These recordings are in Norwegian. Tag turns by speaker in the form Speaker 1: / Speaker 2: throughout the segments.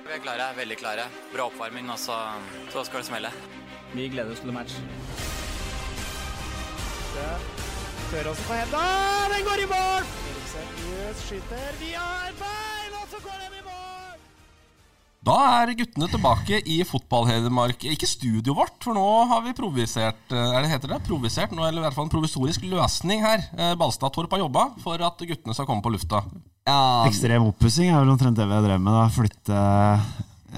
Speaker 1: Vi er klare, veldig klare. Bra oppvarming, og så, så skal det smelle.
Speaker 2: Vi gleder oss til match.
Speaker 3: Da er guttene tilbake i fotballhedermark. Ikke studioet vårt, for nå har vi provisert eh, Er det heter det? Provisert nå, eller i hvert fall en provisorisk løsning her. Eh, Balstad Torp har jobba for at guttene skal komme på lufta.
Speaker 2: Ja,
Speaker 4: Ekstrem oppussing er vel omtrent det vi har drevet med. Da. Flytte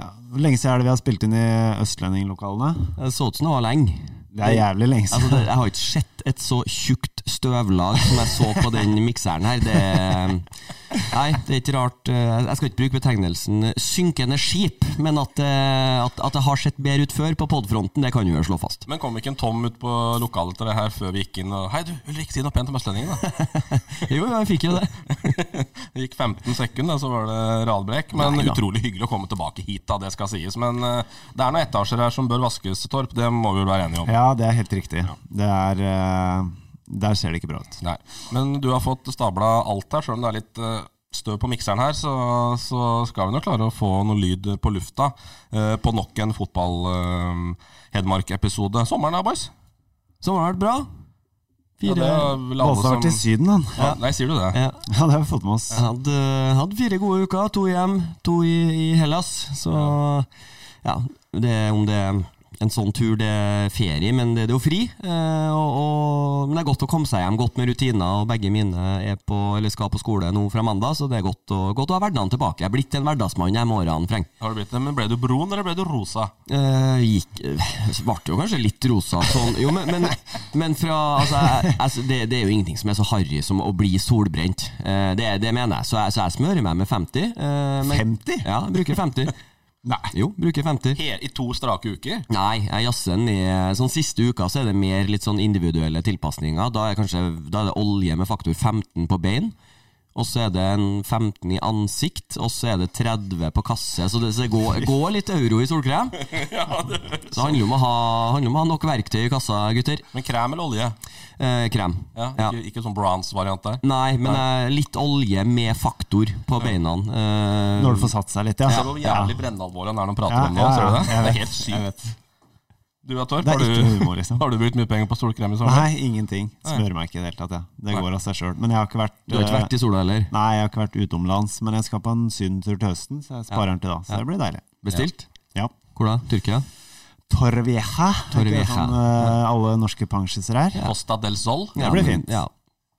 Speaker 4: ja. Hvor lenge siden er det vi har spilt inn i Østlendinglokalene?
Speaker 2: det så ut som det var lenge.
Speaker 4: Det er jævlig lenge
Speaker 2: Altså,
Speaker 4: siden.
Speaker 2: det, jeg har ikke sett et så tjukt støvlag som jeg så på den mikseren her. Det, nei, det er ikke rart eh, Jeg skal ikke bruke betegnelsen synkende skip, men at, eh, at, at det har sett bedre ut før på podfronten, det kan vi vel slå fast.
Speaker 3: Men kom ikke en Tom ut på lokalet til det her før vi gikk inn og Hei, du, Ulrik, si noe pent om Østlendingen, da.
Speaker 2: Jo, jeg fikk jo det.
Speaker 3: Det gikk 15 sekunder, så var det radbrekk. Men
Speaker 2: Nei da.
Speaker 3: utrolig hyggelig å komme tilbake hit, da, det skal sies. Men eh, det er noen etasjer her som bør vaskes, Torp. Det må vi vel være enige om.
Speaker 4: Ja, det er helt riktig. Det er eh, Der ser det ikke bra ut.
Speaker 3: Nei. Men du har fått stabla alt her, selv om det er litt eh, støv på mikseren her, så, så skal vi nok klare å få noe lyd på lufta eh, på nok en fotball-Hedmark-episode. Sommeren da, boys?
Speaker 2: Så har det vært bra.
Speaker 3: Ja, det
Speaker 2: Fire,
Speaker 3: er vel alle
Speaker 4: Balstad har vært i
Speaker 3: som-
Speaker 4: Syden, han.
Speaker 3: ja, Nei, sier du det?
Speaker 2: ja.
Speaker 4: Ja, det har vi fått med oss.
Speaker 2: Jeg hadde, hadde fire gode uker, to hjem, to i, i Hellas. Så ja, det, om det er en sånn tur, det er ferie, men det, det er jo fri. Eh, og, og, men det er godt å komme seg hjem, godt med rutiner. Og begge mine er på, eller skal på skole nå fra mandag, så det er godt å, godt å ha hverdagen tilbake. Jeg er blitt en hverdagsmann jeg med årene, Freng.
Speaker 3: Har du blitt det? Men ble du brun, eller ble du rosa?
Speaker 2: Eh, gikk eh, Ble jo kanskje litt rosa sånn. Jo, men, men, men fra altså, jeg, altså, det, det er jo ingenting som er så harry som å bli solbrent. Eh, det, det mener jeg. Så jeg, så jeg smører meg med 50. eh, men,
Speaker 4: 50?
Speaker 2: Ja, jeg bruker 50.
Speaker 3: Nei.
Speaker 2: Jo, bruker 50.
Speaker 3: He I to strake uker?
Speaker 2: Nei, jeg jazzer den ned. Sånn siste uka så er det mer litt sånn individuelle tilpasninger. Da er, kanskje, da er det olje med faktor 15 på bein. Og så er det en 15 i ansikt, og så er det 30 på kasse. Så det, så det går, går litt euro i solkrem. Så det handler om å ha, handler om å ha nok verktøy i kassa, gutter.
Speaker 3: Men krem eller olje?
Speaker 2: Eh, krem.
Speaker 3: Ja,
Speaker 2: Ja.
Speaker 3: Ikke, ikke sånn bronze-variant der?
Speaker 2: Nei, men eh, litt olje med faktor på beina. Eh,
Speaker 4: Når det får satt seg litt, ja.
Speaker 3: Ser du hvor jævlig brennalvorlig han er når han prater
Speaker 4: Ja,
Speaker 3: om det?
Speaker 4: ja,
Speaker 3: ser du det?
Speaker 4: ja, jeg
Speaker 3: det er
Speaker 4: vet,
Speaker 3: helt sykt. Du, ja, Torp,
Speaker 4: Det
Speaker 3: har
Speaker 4: er ikke
Speaker 3: du,
Speaker 4: humor, liksom.
Speaker 3: har du brukt mye penger på solkrem i sommer?
Speaker 4: Nei, ingenting. Smører meg ikke i det hele tatt, jeg. Det
Speaker 3: Nei.
Speaker 4: går av seg sjøl. Men jeg har ikke vært
Speaker 2: du har ikke
Speaker 4: eh,
Speaker 2: vært i sola heller?
Speaker 4: Nei, jeg har ikke vært utenlands. Men jeg skal på en sydentur til høsten, så jeg sparer den til da. Så det blir deilig.
Speaker 2: Bestilt?
Speaker 4: Ja.
Speaker 2: Hvor da? Tyrkia?
Speaker 4: Torvieja.
Speaker 2: Torrevieja.
Speaker 4: Sånn, eh, alle norske pensjiser her.
Speaker 3: Costa del Sol?
Speaker 4: Det blir
Speaker 2: men-
Speaker 4: fint.
Speaker 2: Ja,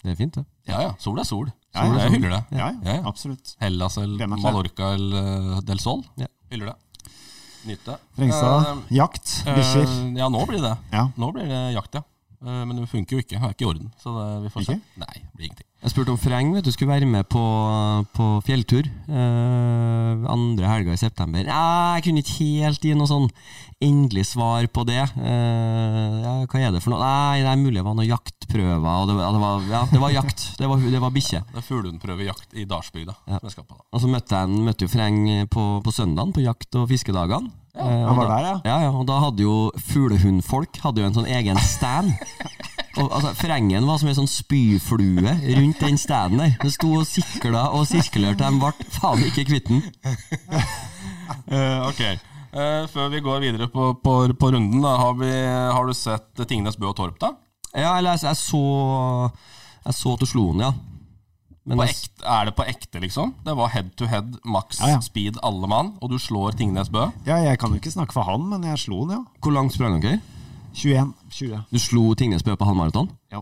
Speaker 2: det er fint, det.
Speaker 3: Ja ja, sol er sol.
Speaker 4: Ja,
Speaker 3: Sol
Speaker 4: ja.
Speaker 3: er hyggelig, det.
Speaker 4: Ja,
Speaker 3: Ja,
Speaker 4: ja,
Speaker 3: ja.
Speaker 4: absolutt.
Speaker 3: Hellas eller
Speaker 4: Glem meg ikke.
Speaker 3: Mallorca eller del Sol.
Speaker 2: Ja.
Speaker 3: Hyller det. Nyte.
Speaker 4: Trengstad, jakt,
Speaker 3: Eh,
Speaker 4: bikkjer.
Speaker 3: eh, Ja, nå blir det
Speaker 4: Ja.
Speaker 3: Nå blir det jakt, ja. Eh, Men det funker jo ikke. Det er ikke i orden. Så det, vi får se.
Speaker 4: Ikke?
Speaker 3: Nei, det blir ingenting.
Speaker 2: Jeg spurte om Freng vet du, skulle være med på, på fjelltur eh, andre helga i september. Nei, jeg kunne ikke helt gi noe sånn endelig svar på det. Eh, ja, hva er det for noe? Nei, det er mulig det var noen jaktprøver. Og det, var- ja, det, var, ja, det var jakt. Det var, det var bikkje.
Speaker 3: Det er fuglehundprøvejakt i Dalsbygda.
Speaker 2: Ja.
Speaker 3: som jeg skal på da.
Speaker 2: Og så møtte jeg møtte jo Freng på, på søndagen på jakt- og fiskedagene. Eh, og
Speaker 4: Han var
Speaker 2: da-
Speaker 4: der, ja.
Speaker 2: Ja, ja, og da hadde jo fuglehundfolk hadde jo en sånn egen stand. Og, altså, Frengen var som en sånn spyflue rundt den standen der. Den sto og sikla og sirkulerte, de ble faen ikke kvitt den.
Speaker 3: Eh, ok. Eh, før vi går videre på, på, på runden, da, har, vi, har du sett Tingnes Bø og Torp, da?
Speaker 2: Ja, eller jeg, jeg så Jeg så at du slo den, ja. Men
Speaker 3: På
Speaker 2: altså- jeg-
Speaker 3: ekte, er det på ekte, liksom? Det var head to head, maks
Speaker 4: Ja, ja.
Speaker 3: speed, alle mann, og du slår Tingnes Bø?
Speaker 4: Ja, jeg kan jo ikke snakke for han, men jeg slo han, ja.
Speaker 2: hvor langt sprang dere?
Speaker 4: 21. 20.
Speaker 2: Du slo Tingnes Bø på halvmaraton?
Speaker 4: Ja.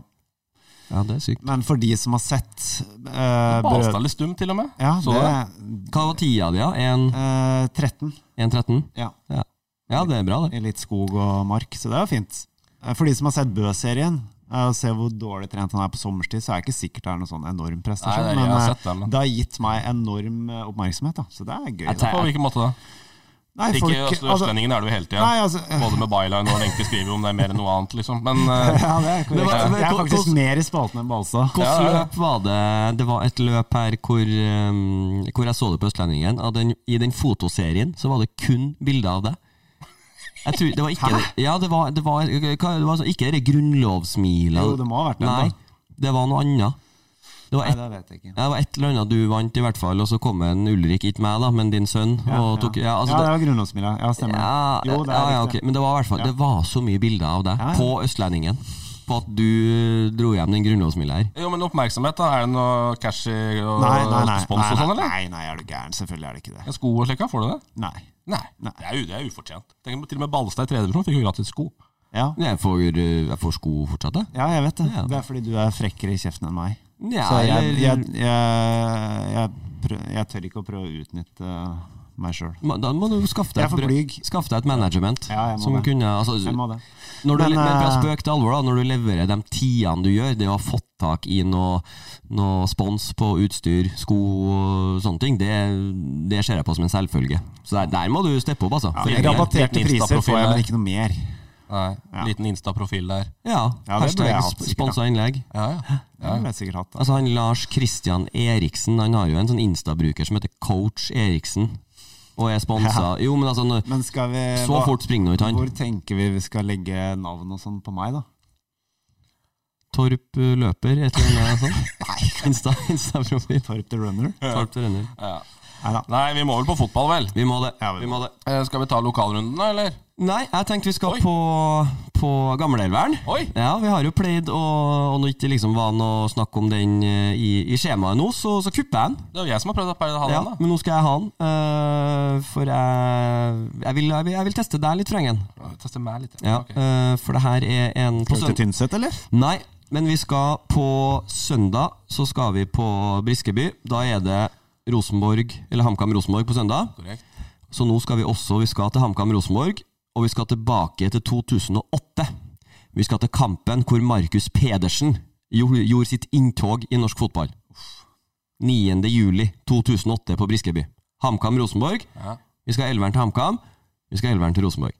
Speaker 2: Ja, det er sykt.
Speaker 4: Men for de som har sett eh, brød...
Speaker 3: Balstad litt stum, til og med.
Speaker 4: Ja,
Speaker 3: Så du
Speaker 4: det
Speaker 3: det?
Speaker 2: Hva var tida di, da? En-
Speaker 4: eh, 13.
Speaker 2: 1.13?
Speaker 4: Ja.
Speaker 2: Ja, det er bra, det.
Speaker 4: I litt skog og mark, så det er jo fint. Eh, For de som har sett Bø-serien, Eh, Å se hvor dårlig trent han er på sommerstid, så er det ikke sikkert det er noen sånn enorm prestasjon.
Speaker 3: Nei, det er- jeg
Speaker 4: men,
Speaker 3: har
Speaker 4: eh,
Speaker 3: sett det, men-
Speaker 4: det har gitt meg enorm eh, oppmerksomhet, da. så det er gøy. Da.
Speaker 3: På hvilken måte da?
Speaker 4: Nei,
Speaker 3: Ikke
Speaker 4: folk-
Speaker 3: øst-
Speaker 4: altså-
Speaker 3: Østlendingen er det jo hele tida.
Speaker 4: Nei, altså-
Speaker 3: Både med byline og lenke skriver jo om det er mer enn noe annet, liksom. Men eh,
Speaker 4: ja, det er korrekt.
Speaker 2: Det var-
Speaker 4: jeg er faktisk
Speaker 2: hvordan-
Speaker 4: mer i spalten enn Balsa.
Speaker 2: Hvilket
Speaker 3: Ja, ja, ja.
Speaker 2: løp var det? Det var et løp her hvor, eh, hvor jeg så det på Østlendingen. Av den, I den fotoserien så var det kun bilder av deg. Jeg tror, det var ikke det, ja, det var, det var, hva- det var så, ikke det grunnlovsmila.
Speaker 4: Jo, det må ha vært den, da.
Speaker 2: Nei, det var noe annet. Det var
Speaker 4: Nei,
Speaker 2: et,
Speaker 4: det vet jeg ikke.
Speaker 2: ja, det var et eller annet du vant, i hvert fall, og så kom en Ulrik, ikke meg, da, men din sønn. og tok, ja, altså,
Speaker 4: ja,
Speaker 2: det-
Speaker 4: det var grunnlovsmila. Ja, stemmer.
Speaker 2: ja,
Speaker 4: det. jo, det er
Speaker 2: ja, ja,
Speaker 4: riktig.
Speaker 2: ok. Men det var i hvert fall Det var så mye bilder av deg
Speaker 4: Ja, ja.
Speaker 2: på Østlendingen. På at du eh, dro hjem den grunnlovsmila her.
Speaker 3: jo, men oppmerksomhet, da. Er det noe cash i og
Speaker 4: Nei, nei, nei.
Speaker 3: spons og sånn,
Speaker 4: nei, nei,
Speaker 3: eller?
Speaker 4: nei, nei, er du gæren? Selvfølgelig er det ikke det.
Speaker 3: Sko og slik, ja, får du det?
Speaker 4: Nei.
Speaker 3: Nei.
Speaker 4: Nei.
Speaker 3: Det, er, u- det er ufortjent. Tenk, om til og med Ballestad i tredje divisjon fikk jo gratis sko.
Speaker 4: Ja,
Speaker 2: Jeg får, eh, jeg får sko fortsatt, jeg.
Speaker 4: ja jeg vet det.
Speaker 2: Ja.
Speaker 4: Det er fordi du er frekkere i kjeften enn meg.
Speaker 2: Ja,
Speaker 4: Så jeg,
Speaker 2: eller-
Speaker 4: jeg, jeg, jeg, prø- jeg tør ikke å prøve å utnytte meg sjøl.
Speaker 2: Ma- Da må du skaffe deg,
Speaker 4: Jeg er for
Speaker 2: et-
Speaker 4: blyg.
Speaker 2: skaffe deg et management.
Speaker 4: Ja, jeg må
Speaker 2: som
Speaker 4: det.
Speaker 2: kunne altså,
Speaker 4: Jeg må det.
Speaker 2: Når du,
Speaker 4: Men,
Speaker 2: men, fra
Speaker 4: eh,
Speaker 2: spøk til alvor, da, når du leverer de tidene du gjør, det å ha fått tak i noe, noe spons på utstyr, sko og sånne ting, det, det ser jeg på som en selvfølge. Så der, der må du steppe opp, altså. For
Speaker 3: jeg
Speaker 2: egen del.
Speaker 4: Rabatterte
Speaker 3: liten
Speaker 4: priser får jeg,
Speaker 3: Insta-profil
Speaker 4: men ikke noe mer.
Speaker 3: Nei. Liten Insta-profil der.
Speaker 2: ja,
Speaker 4: Ja, det burde jeg
Speaker 2: hashtag
Speaker 4: hatt, sikkert,
Speaker 2: sponsa innlegg.
Speaker 3: Ja, ja.
Speaker 4: Det ville jeg sikkert hatt. Da.
Speaker 2: Altså han Lars Christian Eriksen, han har jo en sånn Insta-bruker som heter Coach Eriksen, og er sponsa. Jo, men altså, når-
Speaker 4: Men skal vi
Speaker 2: så fort springer nå ikke han.
Speaker 4: Hvor tenker vi vi skal legge navn og sånn på meg, da?
Speaker 2: Torp eh, løper, et eller annet sånt. Nei, Insta, Insta-profil.
Speaker 4: Torp the Runner?
Speaker 2: Torp til renner.
Speaker 4: Neida.
Speaker 3: Nei, vi må vel på fotball, vel?
Speaker 2: Vi må det.
Speaker 4: Ja, vi
Speaker 2: Vi må det.
Speaker 3: Eh, skal vi ta lokalrunden, da, eller?
Speaker 2: Nei, jeg tenkte vi skal
Speaker 3: Oi.
Speaker 2: på, på Gamleelveren.
Speaker 3: Oi!
Speaker 2: Ja, vi har jo pleid å Og når det ikke liksom var noe snakk om den eh, i, i skjemaet nå, så, så kupper jeg den.
Speaker 3: Det er jo jeg som har prøvd å pære ha
Speaker 2: Ja,
Speaker 3: den, da.
Speaker 2: men nå skal jeg ha den. eh, for jeg, jeg, vil, jeg, vil, jeg vil teste deg litt, Frengen.
Speaker 3: Teste meg litt.
Speaker 2: Ja,
Speaker 3: Ok.
Speaker 2: eh, for det her er en på
Speaker 4: Til
Speaker 2: søndag
Speaker 4: Tynset, eller?
Speaker 2: Nei, men vi skal på søndag Så skal vi på Briskeby. Da er det Rosenborg, eller HamKam Rosenborg på søndag.
Speaker 3: Korrekt.
Speaker 2: Så nå skal vi også vi skal til HamKam Rosenborg, og vi skal tilbake til 2008. Vi skal til kampen hvor Markus Pedersen gjo- gjorde sitt inntog i norsk fotball. 9. juli 2008 på Briskeby. HamKam Rosenborg.
Speaker 3: Ja.
Speaker 2: Vi skal elveren til HamKam. Vi skal elveren til Rosenborg.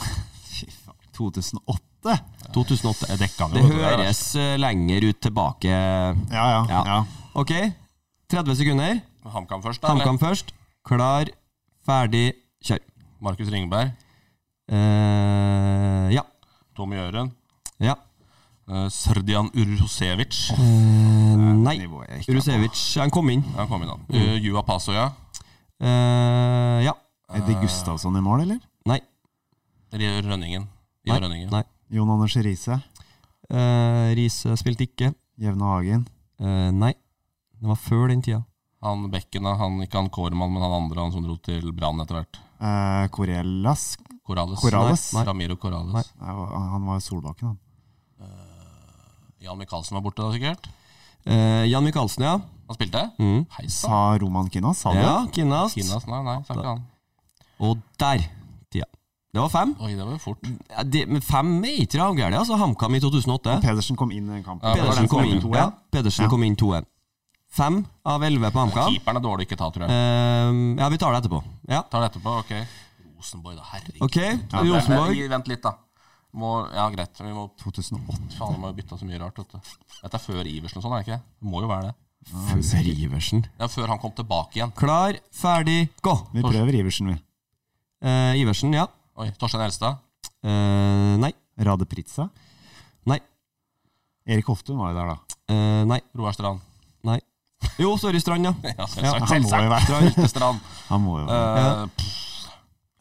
Speaker 4: Fy faen. 2008?
Speaker 2: 2008. Det,
Speaker 3: dekka vi jo, vet
Speaker 2: det
Speaker 3: du, det der,
Speaker 2: høres eh, lenger ut tilbake.
Speaker 4: Ja, ja.
Speaker 2: Ja.
Speaker 4: ja.
Speaker 2: Ok, 30 sekunder.
Speaker 3: HamKam først, da. eller?
Speaker 2: HamKam først. Klar, ferdig, kjør.
Speaker 3: Markus Ringberg.
Speaker 2: Eh, ja.
Speaker 3: Tom Gjøren.
Speaker 2: Ja.
Speaker 3: eh, Serdian Urhosevic.
Speaker 2: Eh, nei.
Speaker 4: nivået jeg ikke er på.
Speaker 2: Rusevic, han kom inn.
Speaker 3: Ja, kom inn, da.
Speaker 2: Mm.
Speaker 3: Eh, Jua Pasoya.
Speaker 2: Eh, ja.
Speaker 4: Eddie Gustavsson i mål, eller?
Speaker 2: Nei.
Speaker 3: Re- Rønningen. Ivar
Speaker 2: Nei.
Speaker 3: Rønningen.
Speaker 2: nei.
Speaker 4: Jon Anders Riise?
Speaker 2: Eh, Riise spilte ikke.
Speaker 4: Jevne Hagen?
Speaker 2: Eh, nei. Det var før den tida.
Speaker 3: Han Bekken, da. Han, ikke han Kårmann, men han andre, han som dro til Brann etter hvert.
Speaker 4: Eh, Corellas?
Speaker 3: Corrales.
Speaker 4: Corrales?
Speaker 3: Nei. Ramiro Corrales.
Speaker 2: Nei.
Speaker 4: Nei, Han var jo Solbakken, han.
Speaker 3: Jan Michaelsen var borte da, sikkert.
Speaker 2: Eh, Jan Michaelsen, ja.
Speaker 3: Han spilte?
Speaker 2: Mm.
Speaker 3: Hei sann.
Speaker 4: Sa Roman Kinas? Sa du det?
Speaker 2: Ja, Kinnast.
Speaker 3: Kinas, nei, nei, sa ikke han.
Speaker 2: Og der tida. Det var fem.
Speaker 3: Oi, det var jo fort.
Speaker 2: Ja, det, men fem er ikke avgærent, altså. HamKam i 2008.
Speaker 4: Pedersen kom inn i den kampen.
Speaker 3: Ja,
Speaker 4: Det var den
Speaker 2: Pedersen
Speaker 4: som
Speaker 2: kom
Speaker 4: endte
Speaker 2: inn
Speaker 4: 2-1.
Speaker 2: 2-1. Ja, Pedersen
Speaker 4: Ja.
Speaker 2: kom inn 2-1. Fem av elleve på HamKam.
Speaker 3: Keeperen er dårlig ikke ta, tror jeg.
Speaker 2: Eh, ja, vi tar det etterpå. Ja.
Speaker 3: Tar det etterpå, ok. Rosenborg, da. Herregud.
Speaker 2: Ok, Rosenborg.
Speaker 3: Vent, vent litt, da. Må, ja, greit. Vi må
Speaker 4: 2008.
Speaker 3: Faen, de har jo bytta så mye rart, vet du. Dette er før Iversen og sånn, er det ikke? Det må jo være det.
Speaker 2: Før Iversen.
Speaker 3: Det er før han kom tilbake igjen.
Speaker 2: Klar, ferdig, gå!
Speaker 4: Vi prøver Iversen, vi.
Speaker 2: Eh, Iversen, ja.
Speaker 3: Oi, Torstein Elstad.
Speaker 2: Eh, nei.
Speaker 4: Rade Pritza.
Speaker 2: Nei.
Speaker 4: Erik Hoftun var jo der, da.
Speaker 2: Eh, nei.
Speaker 3: Roar Strand.
Speaker 2: Nei. Jo, sorry, Strand, ja.
Speaker 3: Ja, selvsagt.
Speaker 4: han må jo være.
Speaker 3: selvsagt. Strand. Strand.
Speaker 4: Han må jo være
Speaker 3: Eh,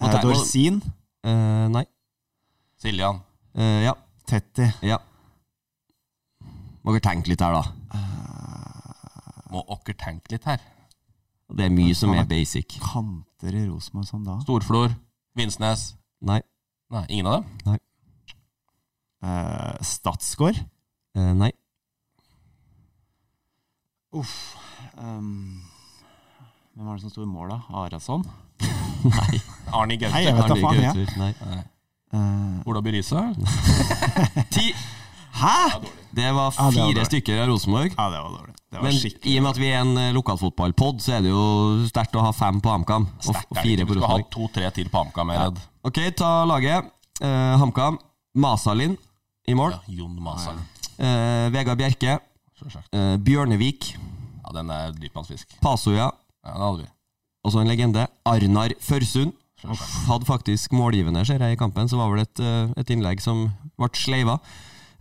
Speaker 2: og
Speaker 4: eh,
Speaker 2: der-
Speaker 4: Dorsin.
Speaker 2: Eh, nei.
Speaker 3: Siljan.
Speaker 2: Eh, ja.
Speaker 4: Tetti.
Speaker 2: Ja. Må dere tenke litt her, da.
Speaker 3: Må okker tenke litt her.
Speaker 2: Det er mye som er basic.
Speaker 4: Kanter i Rosenborg sånn da.
Speaker 3: Storflor. Vinsnes.
Speaker 2: Nei.
Speaker 3: Nei, ingen av dem?
Speaker 4: Eh, Statsgård.
Speaker 2: Eh, nei.
Speaker 4: Uff. Um, hvem var det som sto i mål, da? Arason?
Speaker 3: Arni
Speaker 4: Nei,
Speaker 3: Gaute.
Speaker 4: jeg vet da
Speaker 2: Arne
Speaker 3: Eh,
Speaker 4: faen, jeg.
Speaker 2: Gauter, Nei.
Speaker 4: Eh,
Speaker 3: Ola By Riise.
Speaker 2: Ti.
Speaker 4: Hæ?! Ja,
Speaker 2: Det var
Speaker 4: det var
Speaker 2: fire
Speaker 4: dårlig.
Speaker 2: stykker av Rosenborg.
Speaker 4: Ja, det var dårlig. Det var
Speaker 2: Men
Speaker 4: skikkelig.
Speaker 2: i og med at vi er en eh, lokalfotballpod, så er det jo sterkt å ha fem på HamKam og f-
Speaker 3: Sterkt er det
Speaker 2: fire
Speaker 3: ikke.
Speaker 2: på
Speaker 3: Du skal ha
Speaker 2: Rosenborg.
Speaker 3: to-tre til på AMCAM, jeg er redd.
Speaker 2: Ok, ta laget. Eh, HamKam. Masalin i mål.
Speaker 3: Ja, Jon Masal.
Speaker 2: Eh, Vegard Bjerke.
Speaker 3: Sjølsagt.
Speaker 2: Eh, Bjørnevik.
Speaker 3: Ja, den er dypvannsfisk.
Speaker 2: Pasoja.
Speaker 3: Ja, den hadde vi.
Speaker 2: Og så altså en legende. Arnar Førsund.
Speaker 3: Sjølsagt.
Speaker 2: Hadde faktisk målgivende, ser jeg, i kampen. Så var vel et, eh, et innlegg som ble sleiva.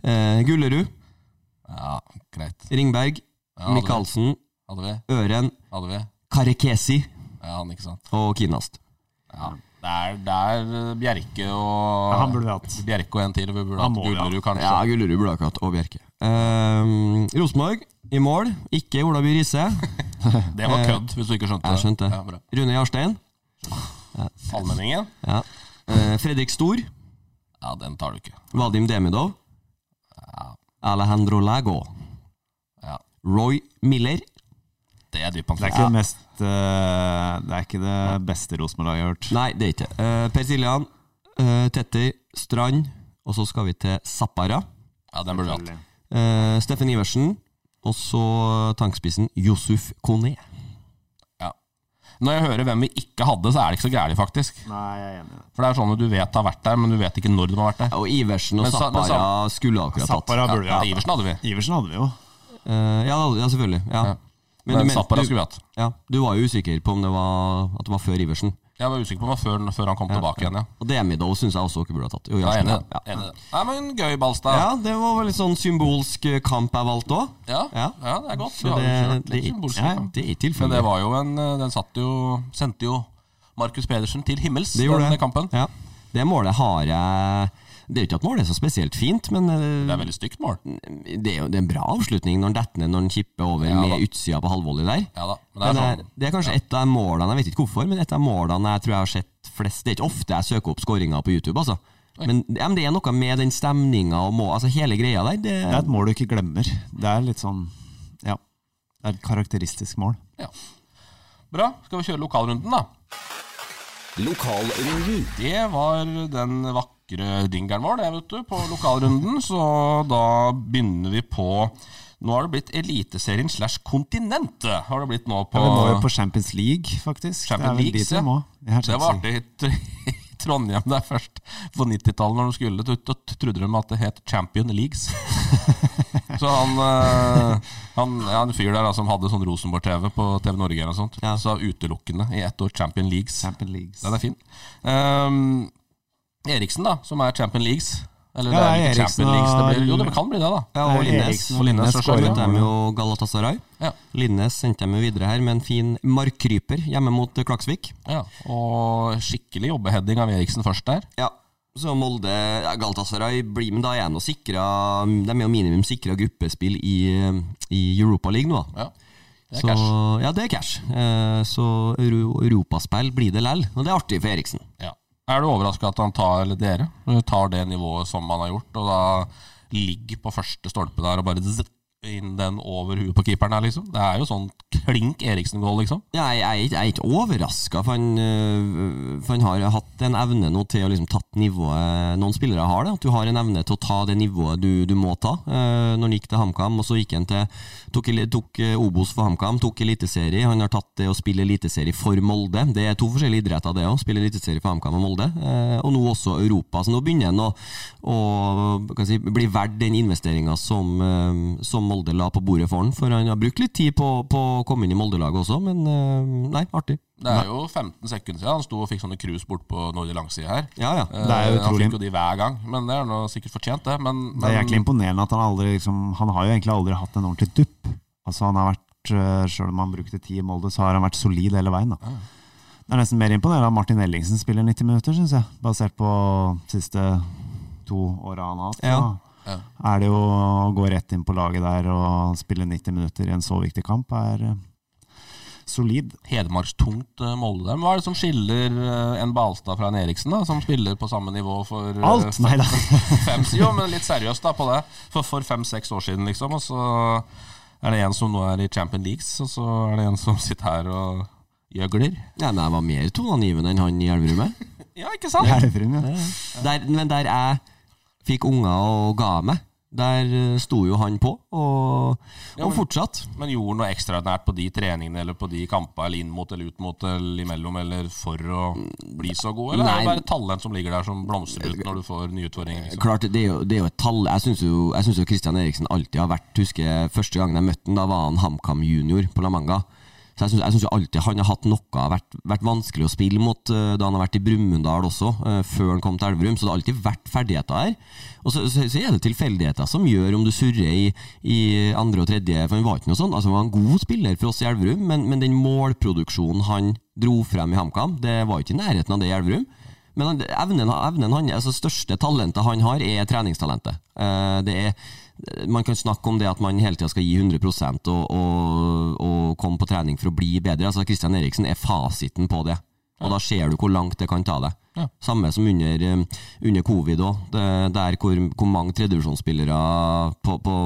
Speaker 2: Eh, Gullerud.
Speaker 3: Ja, greit.
Speaker 2: Ringberg.
Speaker 3: Ja, hadde vi.
Speaker 2: Michaelsen.
Speaker 3: Hadde vi.
Speaker 2: Øren.
Speaker 3: Hadde vi.
Speaker 2: Karekesi.
Speaker 3: Ja, han, ikke sant.
Speaker 2: Og Kinast.
Speaker 3: Ja. Det er, det er eh, Bjerke
Speaker 4: Ja,
Speaker 3: og
Speaker 4: han burde vi hatt.
Speaker 3: Bjerke og en til. Vi burde hatt
Speaker 4: Han må vi ha.
Speaker 3: Gullerud, kanskje.
Speaker 2: Ja, Gullerud, Blakatt og Bjerke. Ehm, Rosenborg i mål. Ikke Ola By Risse.
Speaker 3: Det var kødd, hvis du ikke skjønte
Speaker 2: Eh, Jeg skjønte.
Speaker 3: Ja, bra.
Speaker 2: Rune Jarstein.
Speaker 3: Allmenningen?
Speaker 2: Ja. Eh, Fredrik Stor.
Speaker 3: Ja, den tar du ikke.
Speaker 2: Vadim Demidov. Alejandro Lago.
Speaker 3: Ja.
Speaker 2: Roy Miller.
Speaker 3: Det er
Speaker 4: Det er ikke
Speaker 3: dypvannsfisk.
Speaker 4: det mest eh, Det er ikke det beste Rosenborg har gjort.
Speaker 2: Nei, det er ikke det. Eh, per Siljan. eh, Tetti. Strand. Og så skal vi til Zappara.
Speaker 3: Ja, den burde vi hatt.
Speaker 2: Eh, Steffen Iversen. Og så tankspissen Josef Kone.
Speaker 3: Når jeg hører hvem vi ikke hadde, så er det ikke så gærent, faktisk.
Speaker 4: Nei, jeg er enig i det.
Speaker 3: For det er sånne du vet har vært der, men du vet ikke når de har vært der.
Speaker 2: Og Iversen og
Speaker 3: Men sa- men sa-
Speaker 2: Zappara skulle akkurat tatt.
Speaker 4: Zappara burde vi
Speaker 3: Ja,
Speaker 4: hatt.
Speaker 3: Iversen hadde vi.
Speaker 4: Iversen hadde vi jo.
Speaker 2: Eh, ja, ja, selvfølgelig. Ja.
Speaker 3: Ja.
Speaker 2: Men du
Speaker 3: Men
Speaker 2: mente-
Speaker 3: Zappara
Speaker 2: du-
Speaker 3: skulle vi hatt.
Speaker 2: Ja, Du var jo usikker på om det var, at det var før Iversen.
Speaker 3: Jeg var usikker på meg før, før han kom tilbake igjen, ja.
Speaker 2: Og Demidov syns jeg også dere burde ha tatt. Jo,
Speaker 3: Jeg er
Speaker 2: Jarstein,
Speaker 3: enig i det.
Speaker 2: ja.
Speaker 3: Enig i det. Nei, men gøy, Balstad.
Speaker 2: ja, det var vel litt sånn symbolsk eh, kamp jeg valgte òg.
Speaker 3: Ja, ja.
Speaker 2: Ja.
Speaker 3: det er godt. Vi
Speaker 2: Så
Speaker 3: har
Speaker 2: det,
Speaker 3: jo kjørt
Speaker 2: det,
Speaker 3: litt symbolsk,
Speaker 2: ja,
Speaker 3: da.
Speaker 2: det er
Speaker 3: Men det
Speaker 2: tilfeldig.
Speaker 3: var jo en eh, Den satt jo Sendte jo Markus Pedersen til himmels,
Speaker 2: Det gjorde
Speaker 3: den
Speaker 2: det.
Speaker 3: kampen.
Speaker 2: Ja. Det målet har jeg Det er jo ikke at målet er så spesielt fint, men eh,
Speaker 3: Det er veldig stygt mål.
Speaker 2: det er jo det er en bra avslutning når han detter ned når han kipper over
Speaker 3: Ja, da.
Speaker 2: med utsida på halvvolley der.
Speaker 3: Ja da. Men det
Speaker 2: Men
Speaker 3: er
Speaker 2: det,
Speaker 3: sånn
Speaker 2: er, det er kanskje et av målene Jeg vet ikke hvorfor, men et av målene jeg tror jeg har sett flest Det er ikke ofte jeg søker opp skåringer på YouTube, altså. Men, ja, men det er noe med den stemninga og må, altså hele greia der. Det,
Speaker 4: Det er et mål du ikke glemmer. Det er litt sånn Ja. Det er et karakteristisk mål.
Speaker 3: Ja. Bra. Skal vi kjøre lokalrunden, da?
Speaker 5: Lokalrunden.
Speaker 3: Det var den vakre dingeren vår, det, vet du, på lokalrunden. Så da begynner vi på Nå har det blitt Eliteserien slash Kontinentet. Har det blitt nå på
Speaker 4: Ja, vi må jo på Champions League, faktisk.
Speaker 3: Champions
Speaker 4: det er vel
Speaker 3: League,
Speaker 4: dit
Speaker 3: se.
Speaker 4: vi må. Ja,
Speaker 3: Det var artig i Tr- i Trondheim der først, på 90-tallet, når de skulle ut, og trodde de at det het Champion Leagues. så han, eh, han ja, en fyr der da, som hadde sånn Rosenborg-TV på TV Norge eller noe sånt,
Speaker 2: Ja.
Speaker 3: sa utelukkende i ett år Champion Leagues.
Speaker 4: Champions League.
Speaker 3: Den er fin. Ehm, Eriksen, da, som er Champion Leagues. Eller
Speaker 4: Ja,
Speaker 3: det er
Speaker 4: det er
Speaker 3: ikke
Speaker 4: Eriksen
Speaker 3: Champion Leagues, det
Speaker 4: og-
Speaker 3: blir, jo, det kan bli det, da.
Speaker 2: ja, og Linnes.
Speaker 4: Eriksen
Speaker 3: og Linnes
Speaker 2: Så
Speaker 3: skårer.
Speaker 2: skjøt de jo Galatasaray.
Speaker 3: Ja.
Speaker 2: Linnes sendte dem jo videre her med en fin markkryper hjemme mot eh, Klaksvik.
Speaker 3: Ja. Og skikkelig jobbeheading av Eriksen først der.
Speaker 2: Ja, så Molde ja, Galatasaray blir Men da er de nå sikra De er jo minimum sikra gruppespill i, eh, i Europa League nå, da.
Speaker 3: Ja. Det er
Speaker 2: så,
Speaker 3: cash.
Speaker 2: Ja, det er cash. Eh, så euro europaspill blir det lell, og det er artig for Eriksen.
Speaker 3: Ja. Er du overraska at han tar, eller dere, tar det nivået som han har gjort, og da ligger på første stolpe der og bare zzz, inn den over huet på keeperen her, liksom? Det er jo sånn klink Eriksen-gål, liksom.
Speaker 2: Ja, jeg, jeg, er ikke- jeg er ikke overraska, for, han, øh, for han har hatt en evne nå til å liksom tatt nivået Noen spillere har det, at du har en evne til å ta det nivået du, du må ta. Eh, Når han gikk til HamKam, og så gikk han til Tok, eli- tok eh, Obos for HamKam, tok Eliteserie. Han har tatt det å spille Eliteserie for Molde. Det er to forskjellige idretter, det òg. Spille Eliteserie for HamKam og Molde. Eh, Og nå også Europa. Så nå begynner han å, å hva kan jeg si, bli verdt den investeringa som, eh, som Molde la på bordet for han. For han har brukt litt tid på, på å komme inn i Molde-laget også, men eh, nei, artig.
Speaker 3: Det er jo 15 sekunder siden han sto og fikk sånne cruise bort på nordre langside her.
Speaker 2: Ja, ja.
Speaker 3: Eh,
Speaker 4: Det er jo
Speaker 3: han
Speaker 4: utrolig.
Speaker 3: fikk jo de hver gang, men det er nå sikkert fortjent, det. Men,
Speaker 4: Det er
Speaker 3: men-
Speaker 4: jæklig imponerende at han aldri liksom, Han har jo egentlig aldri hatt en ordentlig dupp. Altså han har vært øh, Selv om han brukte ti i Molde, så har han vært solid hele veien. Da. Det er nesten mer imponerende at Martin Ellingsen spiller 90 minutter, syns jeg. Basert på siste to åra han har hatt.
Speaker 2: Ja.
Speaker 4: Da Er det jo å gå rett inn på laget der og spille 90 minutter i en så viktig kamp, er øh, solid.
Speaker 3: Hedmarkstungt eh, Molde der. Men Hva er det som skiller eh, en Balstad fra en Eriksen, da, som spiller på samme nivå for eh,
Speaker 4: Alt! Nei da.
Speaker 3: fem, jo, men litt seriøst da på det. For, for fem-seks år siden, liksom. Og så er det en som nå er i Champion Leagues, og så er det en som sitter her og gjøgler.
Speaker 2: Ja, men jeg var mer toneangivende enn han i Elverum. jeg.
Speaker 3: Ja, ikke sant?
Speaker 4: Elverum, ja.
Speaker 2: Der- Men der jeg fikk unger og ga meg, Der eh, sto jo han på, og,
Speaker 3: Ja,
Speaker 2: og
Speaker 3: men-
Speaker 2: fortsatt.
Speaker 3: Men gjorde han noe ekstraordinært på de treningene eller på de kampene, eller inn mot eller ut mot eller imellom, eller for å bli så god? Eller er det
Speaker 2: Nei.
Speaker 3: bare talent som ligger der som blomstrer ut når du får nye utfordringer? Liksom?
Speaker 2: Eh, Klart, det er jo, det er jo et tall. Jeg syns jo, jeg synes jo Christian Eriksen alltid har vært Husker første gangen jeg møtte han da var han HamKam junior på La Manga. Så jeg synes- jeg syns jo alltid han har hatt noe har vært, vært vanskelig å spille mot eh, da han har vært i Brumunddal også, eh, før han kom til Elverum. Så det har alltid vært ferdigheter her. Og så, så, så er det tilfeldigheter som gjør om du surrer i, i andre og tredje, for han var ikke noe sånn. Altså, han var en god spiller for oss i Elverum, men, men den målproduksjonen han dro frem i HamKam, det var jo ikke i nærheten av det i Elverum. Men han, evnen, evnen han, altså største talentet han har, er treningstalentet. Eh, det er, man kan snakke om det at man hele tida skal gi 100 og, og, og komme på trening for å bli bedre. Altså Christian Eriksen er fasiten på det. Og da ser du hvor langt det kan ta deg. Samme som under, eh, under covid òg, der hvor, hvor mange tredjevisjonsspillere på, på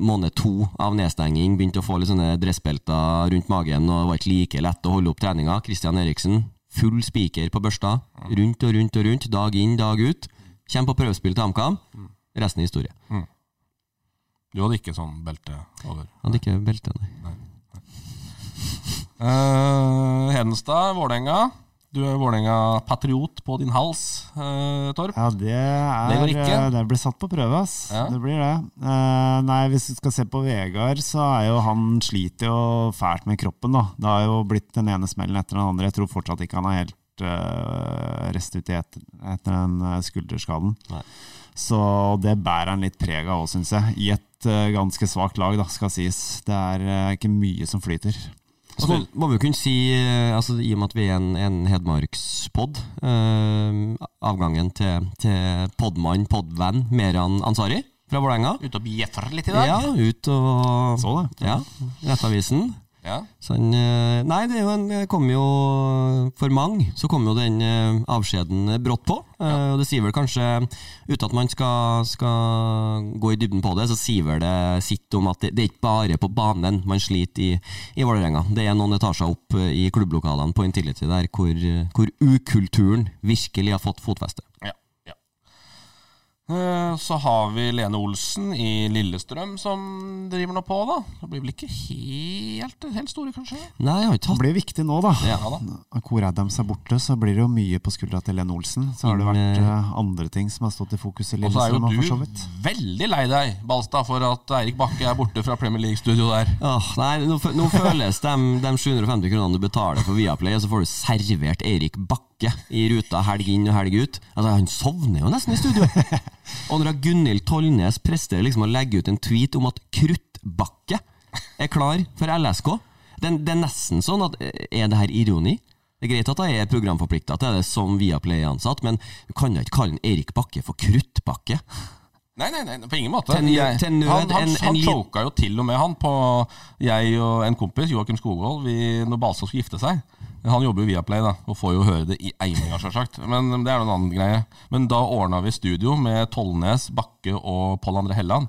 Speaker 2: måned to av nedstenging begynte å få litt sånne dressbelter rundt magen og det var ikke like lett å holde opp treninga. Christian Eriksen full spiker på børsta, rundt og rundt og rundt, dag inn, dag ut. Kjem på prøvespill til HamKam. Resten er historie.
Speaker 3: Du hadde ikke sånn belte over.
Speaker 2: Hadde ikke belte, nei.
Speaker 3: Eh, Hedenstad, Vålerenga. Du er Vålerenga-patriot på din hals, eh, Torp.
Speaker 4: Ja, det er eh,
Speaker 3: Det går ikke.
Speaker 4: det blir satt på prøve, ass.
Speaker 3: Ja.
Speaker 4: Det blir det. Eh, nei, hvis vi skal se på Vegard, så er jo han sliter jo fælt med kroppen, da. Det har jo blitt den ene smellen etter den andre. Jeg tror fortsatt ikke han er helt eh, restut i etter, etter den eh, skulderskaden.
Speaker 2: Nei.
Speaker 4: Så det bærer han litt preg av òg, syns jeg. I et eh, ganske svakt lag, da, skal sies. Det er eh, ikke mye som flyter.
Speaker 2: Så må, må vi jo kunne si, eh, altså, i og med at vi er en, en Hedmarkspod, eh, avgangen til, til podmann, podvenn, Meran Ansari fra Vålerenga.
Speaker 3: Ute og bjeffer litt i dag.
Speaker 2: Ja, ut og
Speaker 4: Så det.
Speaker 2: Ja, Rettavisen.
Speaker 3: Ja.
Speaker 2: Så han, eh, nei, det er jo en, det kom jo for mange, så kom jo den eh, avskjeden brått på. Eh, Og det sier vel kanskje, uten at man skal, skal gå i dybden på det, så sier vel det sitt om at det, det er ikke bare på banen man sliter i, i Vålerenga. Det er noen etasjer opp eh, i klubblokalene på Intility der hvor, eh, hvor ukulturen virkelig har fått fotfeste.
Speaker 3: Ja, ja. Eh, Så har vi Lene Olsen i Lillestrøm som driver nå på, da. Det blir vel ikke helt, helt store, kanskje?
Speaker 2: Nei, jeg har ikke
Speaker 4: Det
Speaker 2: hatt
Speaker 4: blir viktig nå, da.
Speaker 3: Ja, da.
Speaker 4: Hvor Adams er borte, så blir det jo mye på skuldra til Lene Olsen. Så har det vært eh, andre ting som har stått i fokus i
Speaker 3: Og så er jo
Speaker 4: Lillestrøm, for så
Speaker 3: du
Speaker 4: vidt.
Speaker 3: veldig lei deg, Balstad, for at Eirik Bakke er borte fra Premier League-studio der.
Speaker 2: Åh, nei, nå, fø- nå føles de, de 750 kronene du betaler for Viaplay, og så får du servert Eirik Bakke i ruta helg inn og helg ut. Altså, Han sovner jo nesten i studio. Og når da Gunhild Tollnes presterer liksom å legge ut en tweet om at Kruttbakke er klar for LSK Det, det er nesten sånn at eh, Er det her ironi? Det er greit at jeg er programforplikta til det som Viaplay-ansatt, men du kan da ikke kalle en Eirik Bakke for Kruttbakke?
Speaker 3: Nei, nei, nei, på ingen måte.
Speaker 2: Til nød-
Speaker 3: Jeg-
Speaker 2: til nød
Speaker 3: han han,
Speaker 2: en-
Speaker 3: han
Speaker 2: en lit-
Speaker 3: choka jo til og med han på Jeg og en kompis, Joakim Skogvold, vi, når Balstad skulle gifte seg. Han jobber jo via Play, da, og får jo høre det i eininga, sjølsagt. Men det er noen annen greie. Men da ordna vi studio med Tollnes, Bakke og Pål André Helland.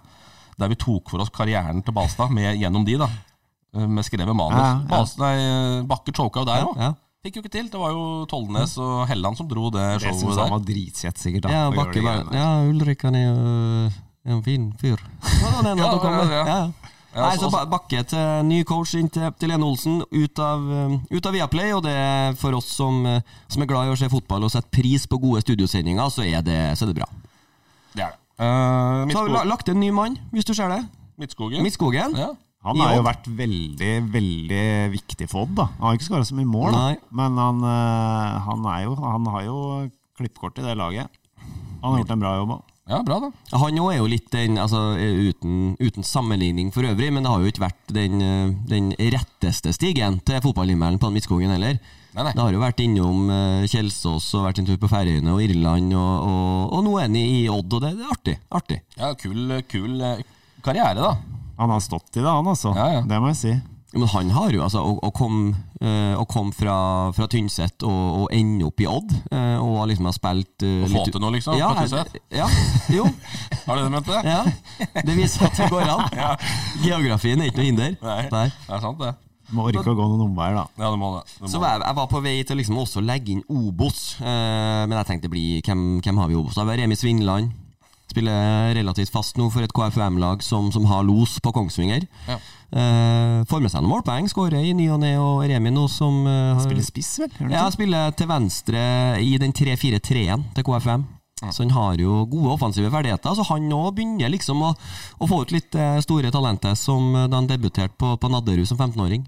Speaker 3: Der vi tok for oss karrieren til Balstad med, gjennom de, da. Eh, Med skrevet manus.
Speaker 4: Ja, ja.
Speaker 3: Balstad, nei, Bakke choka jo der òg.
Speaker 2: ja.
Speaker 3: Fikk jo ikke til. Det var jo Tollnes og Helland som dro det
Speaker 4: Det syns
Speaker 3: showet
Speaker 4: han
Speaker 3: der.
Speaker 4: var dritsett, sikkert. da.
Speaker 2: Ja,
Speaker 4: å gjøre
Speaker 2: Bakke
Speaker 4: de
Speaker 2: bare
Speaker 4: greiene der.
Speaker 2: Ja, Ulrik han er jo en fin fyr. Ja, den
Speaker 3: altså. Ja,
Speaker 2: hadde
Speaker 3: ja, altså-
Speaker 2: kommet.
Speaker 3: ja.
Speaker 2: Ja, ja. Nei,
Speaker 3: så-
Speaker 2: så Ba- Bakke til ny coach inn til til Lene Olsen, ut av, eh, ut av Viaplay. Og det er for oss som, eh, som er glad i å se fotball og setter pris på gode studiosendinger, så er det, så er det bra.
Speaker 3: Det er det. Eh,
Speaker 2: Så har vi la-
Speaker 3: Midtsko-
Speaker 2: lagt en ny mann, hvis du ser det.
Speaker 3: Midtskogen.
Speaker 2: Midtskogen.
Speaker 3: Ja.
Speaker 4: Han
Speaker 2: I
Speaker 4: har jo
Speaker 2: Odd.
Speaker 4: vært veldig, veldig viktig for Odd, da. Han har ikke skåra så mye mål, da.
Speaker 2: Nei.
Speaker 4: men han, eh, han, er jo, han har jo klippkort i det laget. Han har gjort en bra jobb òg.
Speaker 3: ja, bra, da.
Speaker 2: Han òg er jo litt den, altså eh, uten, uten sammenligning for øvrig, men det har jo ikke vært den, eh, den retteste stigen til fotballhimmelen på Midtskogen heller.
Speaker 3: Nei, nei.
Speaker 2: Det har jo vært innom eh, Kjelsås og vært en tur på Færøyene og Irland, og, og, og nå er han i Odd, og det, det er artig. artig.
Speaker 3: Ja, kul, kul eh, karriere, da.
Speaker 4: Han har stått i det, han altså.
Speaker 3: Ja, ja.
Speaker 4: Det må jeg si.
Speaker 2: Men han har jo, altså, å, å komme eh, å komme fra, fra Tynset og, og ende opp i Odd, eh, og har liksom har spilt eh,
Speaker 3: Få til noe, liksom.
Speaker 2: ja,
Speaker 3: på Tynset.
Speaker 2: ja, jo.
Speaker 3: Har du det mente?
Speaker 2: Ja. Det viser at det går an. Geografien er ikke noe hinder.
Speaker 3: Nei.
Speaker 2: Nei.
Speaker 3: Det er sant, det.
Speaker 4: Må orke å gå noen omveier, da.
Speaker 3: Ja, du må det. Du må
Speaker 2: Så
Speaker 3: det.
Speaker 2: var jeg, jeg var på vei til liksom også å legge inn Obos, eh, men jeg tenkte bli, hvem, hvem har vi i Obos? Da var Remi Svinland, Spiller relativt fast nå for et KFUM-lag som, som har los på Kongsvinger.
Speaker 3: Ja.
Speaker 2: Eh, får med seg noen målpoeng, skårer i ny og ne, og Remi nå som eh,
Speaker 3: Mm.
Speaker 2: har-
Speaker 4: Spiller spiss, vel? Gjør han
Speaker 2: ja,
Speaker 4: ikke?
Speaker 2: han spiller til venstre i den 3-4-3-en til KFM. Så han har jo gode offensive ferdigheter. Så han òg begynner liksom å, å få ut litt eh, store talenter, som eh, da han debuterte på, på Nadderud som 15-åring.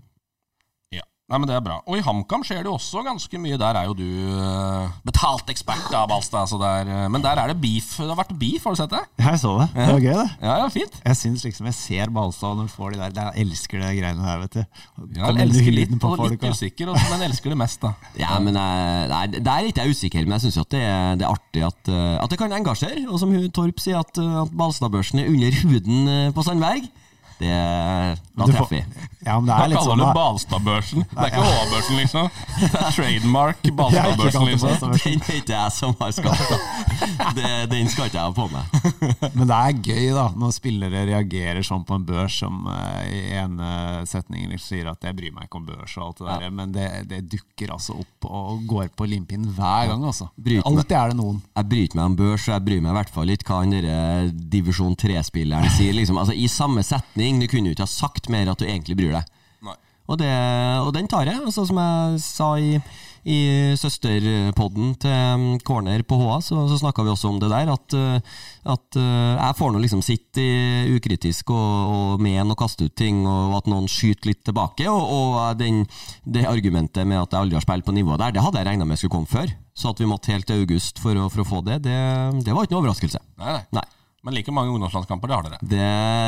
Speaker 3: Ja. Nei, men Det er bra. Og i HamKam skjer det jo også ganske mye. Der er jo du eh, betalt ekspert, da, Balstad. Så det er, eh, men der er det beef. Det har vært beef, har du sett det?
Speaker 4: Ja, jeg så det. Det var gøy, det.
Speaker 3: Ja, ja, fint.
Speaker 4: Jeg syns liksom jeg ser Balstad når han får de der. Jeg elsker det greiene der, vet du.
Speaker 3: Ja, den
Speaker 4: Kommer
Speaker 3: elsker
Speaker 4: lyden
Speaker 3: litt,
Speaker 4: på
Speaker 3: og litt
Speaker 4: folk, og-
Speaker 3: usikker, og den elsker det mest, da.
Speaker 2: Ja, men jeg, nei, Der er ikke jeg usikker, men jeg syns det, er- det er artig at, eh, at det kan engasjere. Og som hun Torp sier, at, eh, at Balstadbørsen er under huden eh, på Sandberg. Det, da
Speaker 4: Du får-
Speaker 2: treffer vi.
Speaker 4: Ja, men det
Speaker 3: Da
Speaker 4: er
Speaker 3: kaller
Speaker 4: litt sånn
Speaker 3: du det
Speaker 4: da.
Speaker 3: Balstadbørsen. Det er ikke HA-børsen, liksom. Det er trademark
Speaker 4: Jeg har ikke kalt
Speaker 3: Balstadbørsen,
Speaker 4: det
Speaker 3: liksom.
Speaker 4: Balstadbørsen.
Speaker 2: Den er ikke jeg som har skapt den. Den skal ikke jeg ha på meg.
Speaker 4: Men det er gøy, da, når spillere reagerer sånn på en børs som eh, i ene setningen liksom sier at 'jeg bryr meg ikke om børs' og alt det der, men det, det dukker altså opp og går på limpinnen hver gang, altså.
Speaker 2: Bryter meg.
Speaker 4: Alltid er det noen.
Speaker 2: jeg bryr ikke meg om børs, og jeg bryr meg i hvert fall litt hva han derre divisjon 3-spilleren sier. Liksom. Altså, I samme setning, du kunne jo ikke ha sagt mer at du egentlig bryr deg.
Speaker 3: Nei.
Speaker 2: Og, det, og den tar jeg. Altså, som jeg sa i, i søsterpodden til um, Corner på HA, så, så snakka vi også om det der, at, uh, at uh, jeg får nå liksom sitte i- ukritisk og, og mene og kaste ut ting, og at noen skyter litt tilbake. Og, og den, det argumentet med at jeg aldri har spilt på nivået der, det hadde jeg regna med skulle komme før. Så at vi måtte helt til august for å, for å få det, det, det var ikke noe overraskelse.
Speaker 3: Nei, nei.
Speaker 2: Nei.
Speaker 3: Men like mange ungdomslandskamper, det har dere.
Speaker 2: Det,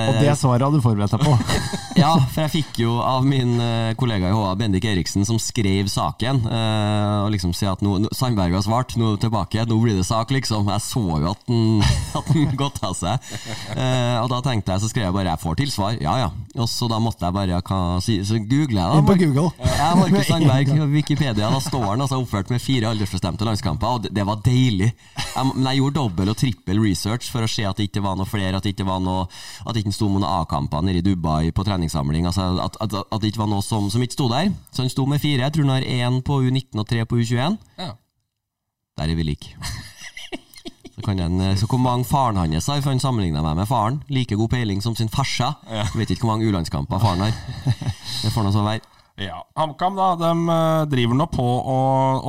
Speaker 4: Og
Speaker 3: Eh.
Speaker 4: det svaret hadde du forberedt deg på.
Speaker 2: Ja, for jeg fikk jo av min eh, kollega i HA, Bendik Eriksen, som skrev saken, eh, og liksom si at nå, nå- Sandberg har svart, nå tilbake, nå blir det sak, liksom. Jeg så jo at den, at den gått av seg. Eh, og da tenkte jeg, så skrev jeg bare 'jeg får tilsvar', ja ja. Og så da måtte jeg bare hva si, Så googlet jeg, da.
Speaker 4: Inn på
Speaker 2: Mark-
Speaker 4: Google.
Speaker 2: Ja, Markus Sandberg på Wikipedia. Da står han altså oppført med fire aldersbestemte landskamper, og det, det var deilig. Jeg, må- men jeg gjorde dobbel og trippel research for å se at det ikke var noe flere, at det ikke var noe At det ikke sto noen A-kamper nede i Dubai på treningssamling. Altså at, at, at det ikke var noe som, som ikke sto der. Så han sto med fire. Jeg tror han har én på U19 og tre på U21.
Speaker 3: Ja.
Speaker 2: Der er vi like. Så, kan den, eh, så hvor mange faren hans har, for han sammenligna meg med faren. Like god peiling som sin farsa. Vet ikke hvor mange U-landskamper faren har. Det får nå så være.
Speaker 3: Ja. HamKam da, de eh, driver nå på å,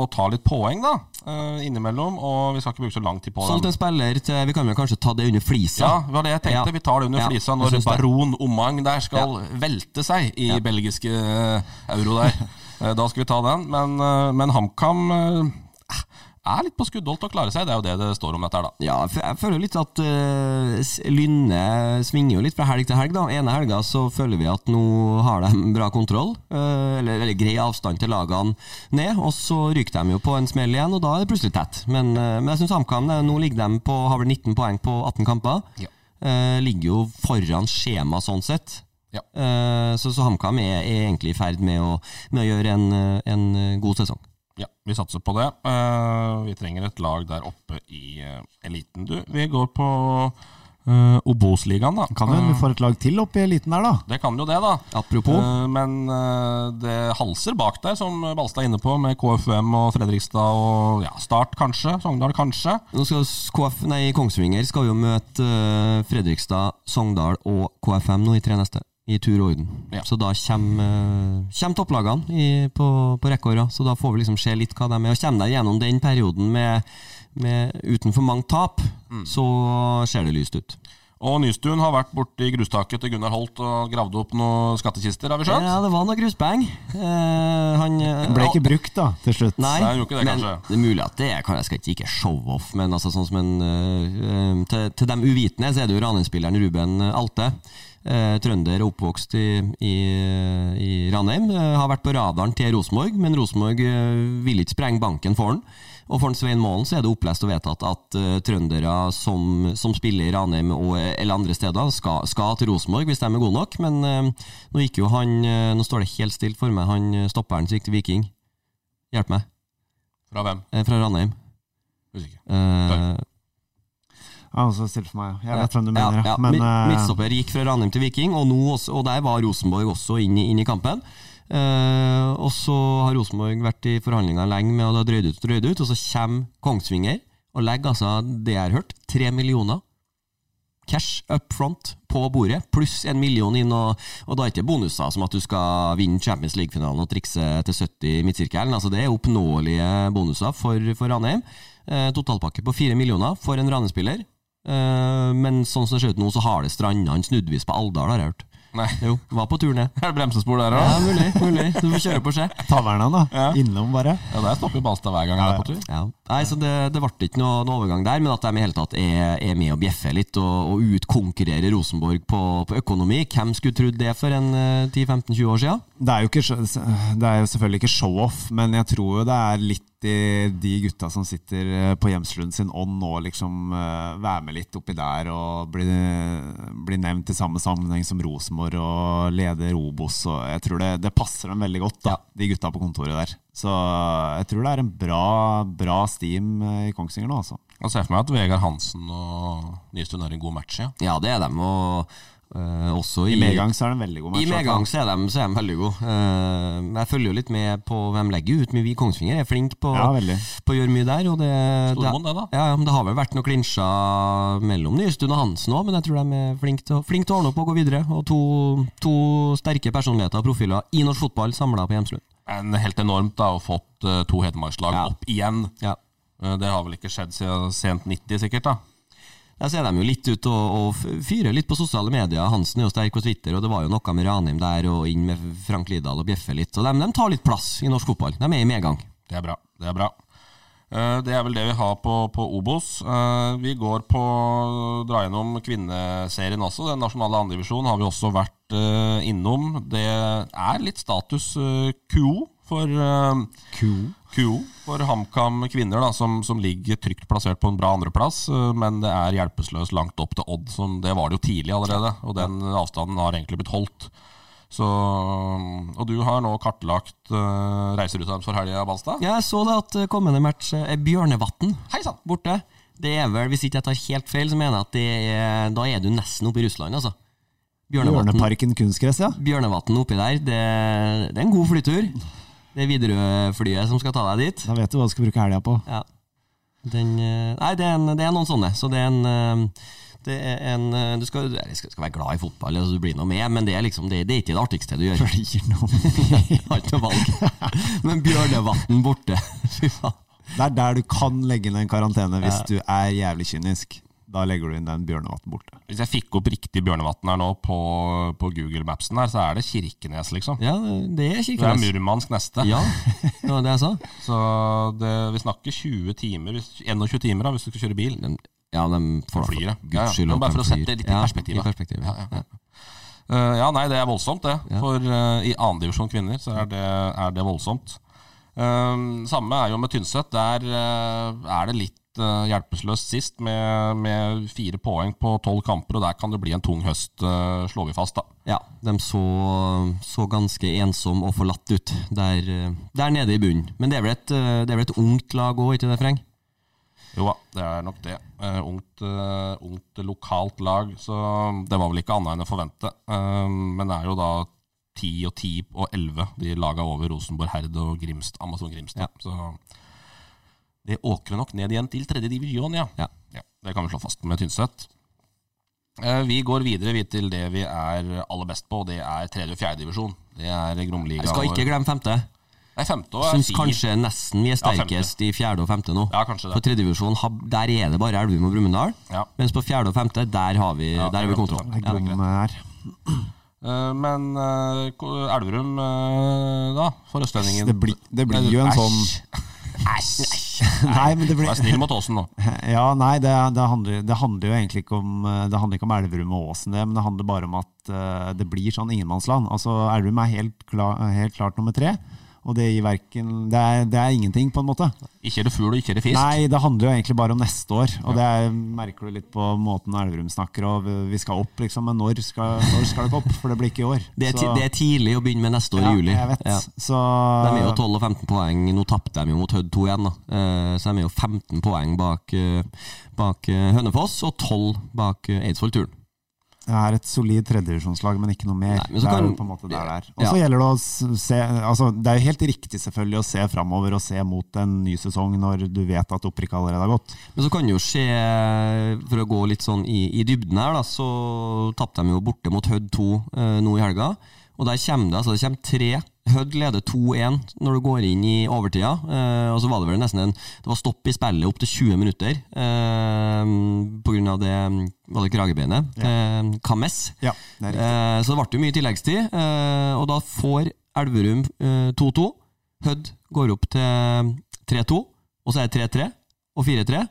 Speaker 3: å ta litt poeng da, eh, innimellom, og vi skal ikke bruke så lang tid på
Speaker 2: Solgt
Speaker 3: dem.
Speaker 2: en spiller til Vi kan vel kanskje ta det under flisa?
Speaker 3: Ja, det var det jeg tenkte.
Speaker 2: Ja.
Speaker 3: Vi tar det under
Speaker 2: Ja,
Speaker 3: flisa
Speaker 2: jeg
Speaker 3: når
Speaker 2: synes det.
Speaker 3: baron Omang der skal velte seg i belgiske eh, euro der. Eh, da skal vi ta den. Men, eh, men HamKam eh, er litt på skuddholdt og klarer seg. Det er jo det det står om dette her, da.
Speaker 2: Ja, for jeg føler jo litt at eh, s- Lynne svinger jo litt fra helg til helg. da Ene helga så føler vi at nå har de bra kontroll, eh, eller, eller grei avstand til lagene ned. Og så ryker de jo på en smell igjen, og da er det plutselig tett. Men, eh, men jeg syns HamKam det er- nå ligger de på, har vel 19 poeng på 18 kamper.
Speaker 3: Ja.
Speaker 2: Eh, ligger jo foran skjema sånn sett.
Speaker 3: Ja.
Speaker 2: Eh, så så HamKam er, er egentlig i ferd med å, med å gjøre en, eh, en eh, god sesong.
Speaker 3: Ja, vi satser på det. Eh, vi trenger et lag der oppe i eh, eliten, du. Vi går på uh, Obos-ligaen, da.
Speaker 4: Kan jo hende vi får et lag til opp i eliten der, da.
Speaker 3: Det kan jo det, da.
Speaker 2: Apropos.
Speaker 3: Eh, men eh, det halser bak der, som Balstad er inne på, med KFUM og Fredrikstad og ja, Start kanskje, Sogndal kanskje.
Speaker 2: Nå skal s- KF, nei, Kongsvinger skal jo møte eh, Fredrikstad, Sogndal og KFM nå i tre neste. I tur og orden.
Speaker 3: Ja.
Speaker 2: Så da kommer, kommer topplagene i, på, på rekke og rad. Så da får vi liksom se litt hva de er. Og kommer deg gjennom den perioden med, med uten for mange tap,
Speaker 4: Mm.
Speaker 2: så ser det lyst ut.
Speaker 3: Og Nystuen har vært borti grustaket til Gunnar Holt og gravd opp noen skattkister, har vi skjønt?
Speaker 2: Eh, Ja, det var noe grusbeng. Eh, han
Speaker 4: Den ble ikke brukt, da, til slutt.
Speaker 2: Nei,
Speaker 3: Nei, han gjorde ikke det,
Speaker 2: men
Speaker 3: kanskje.
Speaker 2: det er mulig at det er kan- Jeg skal ikke, ikke show-off, men altså sånn som en øh, øh, til, til dem uvitende så er det jo Ranheim-spilleren Ruben eh, Alte. øh, trønder og oppvokst i, i, i Ranheim. øh, har vært på radaren til Rosenborg, men Rosenborg øh, vil ikke sprenge banken for han. Og for han Svein Målen så er det opplest og vedtatt at øh, trøndere som, som spiller i Ranheim og, eh, eller andre steder, skal, skal til Rosenborg hvis de er gode nok. Men øh, nå gikk jo han øh, Nå står det helt stilt for meg, han øh, stopperen som gikk til Viking. Hjelp meg.
Speaker 3: Fra hvem?
Speaker 2: Eh, Fra Ranheim.
Speaker 3: Husker ikke.
Speaker 2: Eh,
Speaker 4: Ja, og så stille for meg. Jeg vet hvem du
Speaker 2: ja,
Speaker 4: mener,
Speaker 2: ja.
Speaker 4: ja. Men
Speaker 2: Mid-
Speaker 4: eh,
Speaker 2: Midtstopper gikk fra Ranheim til Viking, og, nå også, og der var Rosenborg også inn i, inn i kampen. Eh, og så har Rosenborg vært i forhandlinger lenge med, og det har drøyd ut og drøyd ut, og så kommer Kongsvinger og legger altså, det jeg har hørt, tre millioner cash up front på bordet, pluss en million inn, og, og da er ikke bonuser som at du skal vinne Champions League-finalen og trikse til 70 i midtsirkelen. Altså, det er oppnåelige bonuser for, for Ranheim. Eh, totalpakke på fire millioner for en Ranheim-spiller. Eh, men sånn som det ser ut nå, så har det stranda en snuddvis på Alvdal, har jeg hørt.
Speaker 3: Nei.
Speaker 2: Jo, var på tur ned.
Speaker 3: Er det bremsespor der
Speaker 2: Ja,
Speaker 3: òg?
Speaker 2: mulig, mulig. Du får kjøre på seg.
Speaker 4: Taverna, da. Innom, bare.
Speaker 3: Ja, der stopper jo Balstad hver gang han er på tur.
Speaker 2: Ja. Nei, så det, det ble ikke noe, noe overgang der, men at de i hele tatt er, er med og bjeffer litt og, og utkonkurrerer Rosenborg på, på økonomi. Hvem skulle trodd det for en eh, 10-15-20 år siden?
Speaker 4: Det er jo, ikke, det er jo selvfølgelig ikke show-off, men jeg tror jo det er litt i de gutta som sitter eh, på hjemsluen sin ånd nå, liksom eh, være med litt oppi der og bli, bli nevnt i samme sammenheng som Rosenborg og leder Obos. Og jeg tror det, det passer dem veldig godt, da, de gutta på kontoret der. Så eh, jeg tror det er en bra, bra steam i Kongsvinger nå, altså.
Speaker 3: Jeg ser for meg at Vegard Hansen og Nystuen er en god match, ja.
Speaker 2: Ja, det er de, og eh, også i,
Speaker 4: I medgang så er det en veldig god match.
Speaker 2: I medgang så er de, så er de veldig gode. Eh, men jeg følger jo litt med på hvem legger ut mye. Vi i Kongsvinger er flink på,
Speaker 4: Ja, veldig.
Speaker 2: på å gjøre mye der. Og det,
Speaker 3: Stormond, det da.
Speaker 2: Ja, ja, men det har vel vært noen klinsjer mellom Nystuen og Hansen òg, men jeg tror de er flinke til, å- flink til å ordne opp og gå videre. Og to, to sterke personligheter og profiler i norsk fotball samla på Hjemslund.
Speaker 3: Men helt enormt da, å ha fått eh, to Hedmarkslag
Speaker 2: Ja.
Speaker 3: opp igjen.
Speaker 2: Ja.
Speaker 3: Eh, Det har vel ikke skjedd siden sent 90, sikkert. da.
Speaker 2: Der ser de jo litt ut og, og f- fyrer litt på sosiale medier. Hansen er jo sterk på Twitter, og det var jo noe med Ranheim der og inn med Frank Lidahl og bjeffe litt. Så de, de tar litt plass i norsk fotball. De er i medgang.
Speaker 3: Det er bra. Det er bra. Eh, Det er vel det vi har på, på Obos. Eh, Vi går på dra gjennom kvinneserien også. Den nasjonale andredivisjonen har vi også vært eh, innom. Det er litt status eh, quo for eh, QO for HamKam kvinner, da, som, som ligger trygt plassert på en bra andreplass. eh, Men det er hjelpeløst langt opp til Odd. Som det var det jo tidlig allerede, og den avstanden har egentlig blitt holdt. Så, og du har nå kartlagt uh, reiseruta for helga, Balstad.
Speaker 2: Jeg så det at eh, kommende match eh, er Bjørnevatn
Speaker 3: Hei sann!
Speaker 2: borte. Det er vel, Hvis ikke jeg tar helt feil, så mener jeg at det er, da er du nesten oppe i Russland, altså. Bjørnevatn
Speaker 4: Bjørneparken kunstgress, ja.
Speaker 2: Bjørnevatn oppi der, det, det er en god flytur. Det er Widerøe-flyet som skal ta deg dit.
Speaker 4: Da vet du hva du skal bruke helga på.
Speaker 2: Ja. Den, eh, nei, det er, en, det er noen sånne. Så det er en, eh, det er en eh, Du skal, eller skal, skal være glad i fotball, altså, du blir nå med, men det er liksom det, det er ikke det artigste du gjør.
Speaker 4: Blir noe
Speaker 2: Jeg har ikke noe valg. Men Bjørnevatn borte, fy faen.
Speaker 4: Det er der du kan legge inn en karantene hvis du er jævlig kynisk. Da legger du inn den bjørnevatten borte.
Speaker 3: Hvis jeg fikk opp riktig Bjørnevatn her nå på, på Google Mapsen, her, så er det Kirkenes, liksom.
Speaker 2: Ja, det er
Speaker 3: Det er
Speaker 2: Kirkenes.
Speaker 3: Murmansk neste.
Speaker 2: Ja, det var det jeg sa.
Speaker 3: Så det, vi snakker 20 timer, hvis- 21 timer da, hvis du skal kjøre bil.
Speaker 2: De, ja, de får
Speaker 3: Flyr, ja.
Speaker 2: for Guds
Speaker 3: Ja, ja.
Speaker 2: skyld.
Speaker 3: Men
Speaker 2: at
Speaker 3: bare
Speaker 2: de
Speaker 3: for å sette
Speaker 2: flyr.
Speaker 3: det litt i
Speaker 2: ja,
Speaker 3: perspektiv,
Speaker 2: I
Speaker 3: da.
Speaker 2: perspektiv ja.
Speaker 3: Ja, ja. Eh, ja, nei, det er voldsomt, det. For eh, i andredivisjon kvinner så er det, er det voldsomt. Eh, samme er jo med Tynset. Der eh, er det litt eh, hjelpeløst sist, med, med fire poeng på tolv kamper, og der kan det bli en tung høst, eh, slår vi fast, da.
Speaker 2: Ja, de så, så ganske ensom og forlatt ut der, eh, der nede i bunnen. Men det er vel et, eh, det er vel et ungt lag òg, ikke det, Freng?
Speaker 3: Jo da, det er nok det. Eh, ungt, eh, ungt lokalt lag, så det var vel ikke annet enn å forvente. Eh, men det er jo da 10 og 10 og 11 de laga over Rosenborg Herd og Grimst, Amazon Grimstad. Så det åker nok ned igjen til tredje divisjon, ja.
Speaker 2: Ja.
Speaker 3: Det kan vi slå fast med Tynset. Eh, Vi går videre vi til det vi er aller best på, og det er tredje og fjerde divisjon. Det er Gromliga.
Speaker 2: Jeg skal ikke glemme femte.
Speaker 3: Nei, femte og
Speaker 2: Syns
Speaker 3: fi-
Speaker 2: kanskje nesten vi er
Speaker 3: Ja, femte.
Speaker 2: sterkest i fjerde og femte nå.
Speaker 3: Ja, kanskje det.
Speaker 2: På tredjevisjon, der er det bare Elverum og Brumunddal.
Speaker 3: Ja.
Speaker 2: Mens på fjerde og femte, der har vi,
Speaker 3: Ja,
Speaker 2: der har vi kontroll.
Speaker 4: Det er
Speaker 2: Ja.
Speaker 4: grom her.
Speaker 3: Eh, Men eh, Ko- Elverum, eh, da, for østlendingen
Speaker 4: Det, blir- det blir jo en sånn Nei, men det
Speaker 3: Vær
Speaker 4: blir
Speaker 3: snill mot Åsen nå.
Speaker 4: Ja, nei, det, det, handler, det handler jo egentlig ikke om eh, Det handler ikke om Elverum og Åsen, det, men det handler bare om at eh, det blir sånn ingenmannsland. Altså, Elverum er helt, kla- helt klart nummer tre, og det gir verken det er, det er ingenting, på en måte.
Speaker 3: Ikke er det fugl og ikke er det fisk.
Speaker 4: Nei, det handler jo egentlig bare om neste år. Og det er, merker du litt på måten Elverum snakker og Vi skal opp, liksom. Men når skal, når skal det ikke opp? For det blir ikke i år.
Speaker 2: Det er, ti,
Speaker 4: Så-
Speaker 2: det er tidlig å begynne med neste år
Speaker 4: ja,
Speaker 2: i juli.
Speaker 4: Jeg vet.
Speaker 2: Ja.
Speaker 4: Så
Speaker 2: De er jo 12 og 15 poeng. Nå tapte de jo mot Hødd 2 igjen, da. Eh, Så de er jo 15 poeng bak, eh, bak eh, Hønefoss og 12 bak eh, Eidsvoll-turen.
Speaker 4: Det er et solid tredjedivisjonslag, men ikke noe mer.
Speaker 2: Nei, men så
Speaker 4: det er
Speaker 2: kan-
Speaker 4: jo på en måte der det er. Og
Speaker 2: Ja.
Speaker 4: så gjelder det å s- se altså, Det er jo helt riktig selvfølgelig å se framover og se mot en ny sesong når du vet at opprykket allerede har gått.
Speaker 2: Men så kan det jo skje, for å gå litt sånn i, i dybden her, da, så tapte de jo borte mot Hødd 2 eh, nå i helga. Og der kommer det altså det kommer tre. Hødd leder 2-1 når du går inn i overtida. Eh, og så var det vel nesten en Det var stopp i spillet opptil 20 minutter eh, pga. det mm, Var det kragebeinet? Eh, Kames.
Speaker 4: Ja, det er riktig.
Speaker 2: Eh, så det ble jo mye tilleggstid. Eh, og da får Elverum eh, 2-2. Hødd går opp til 3-2, og så er det 3-3 og 4-3.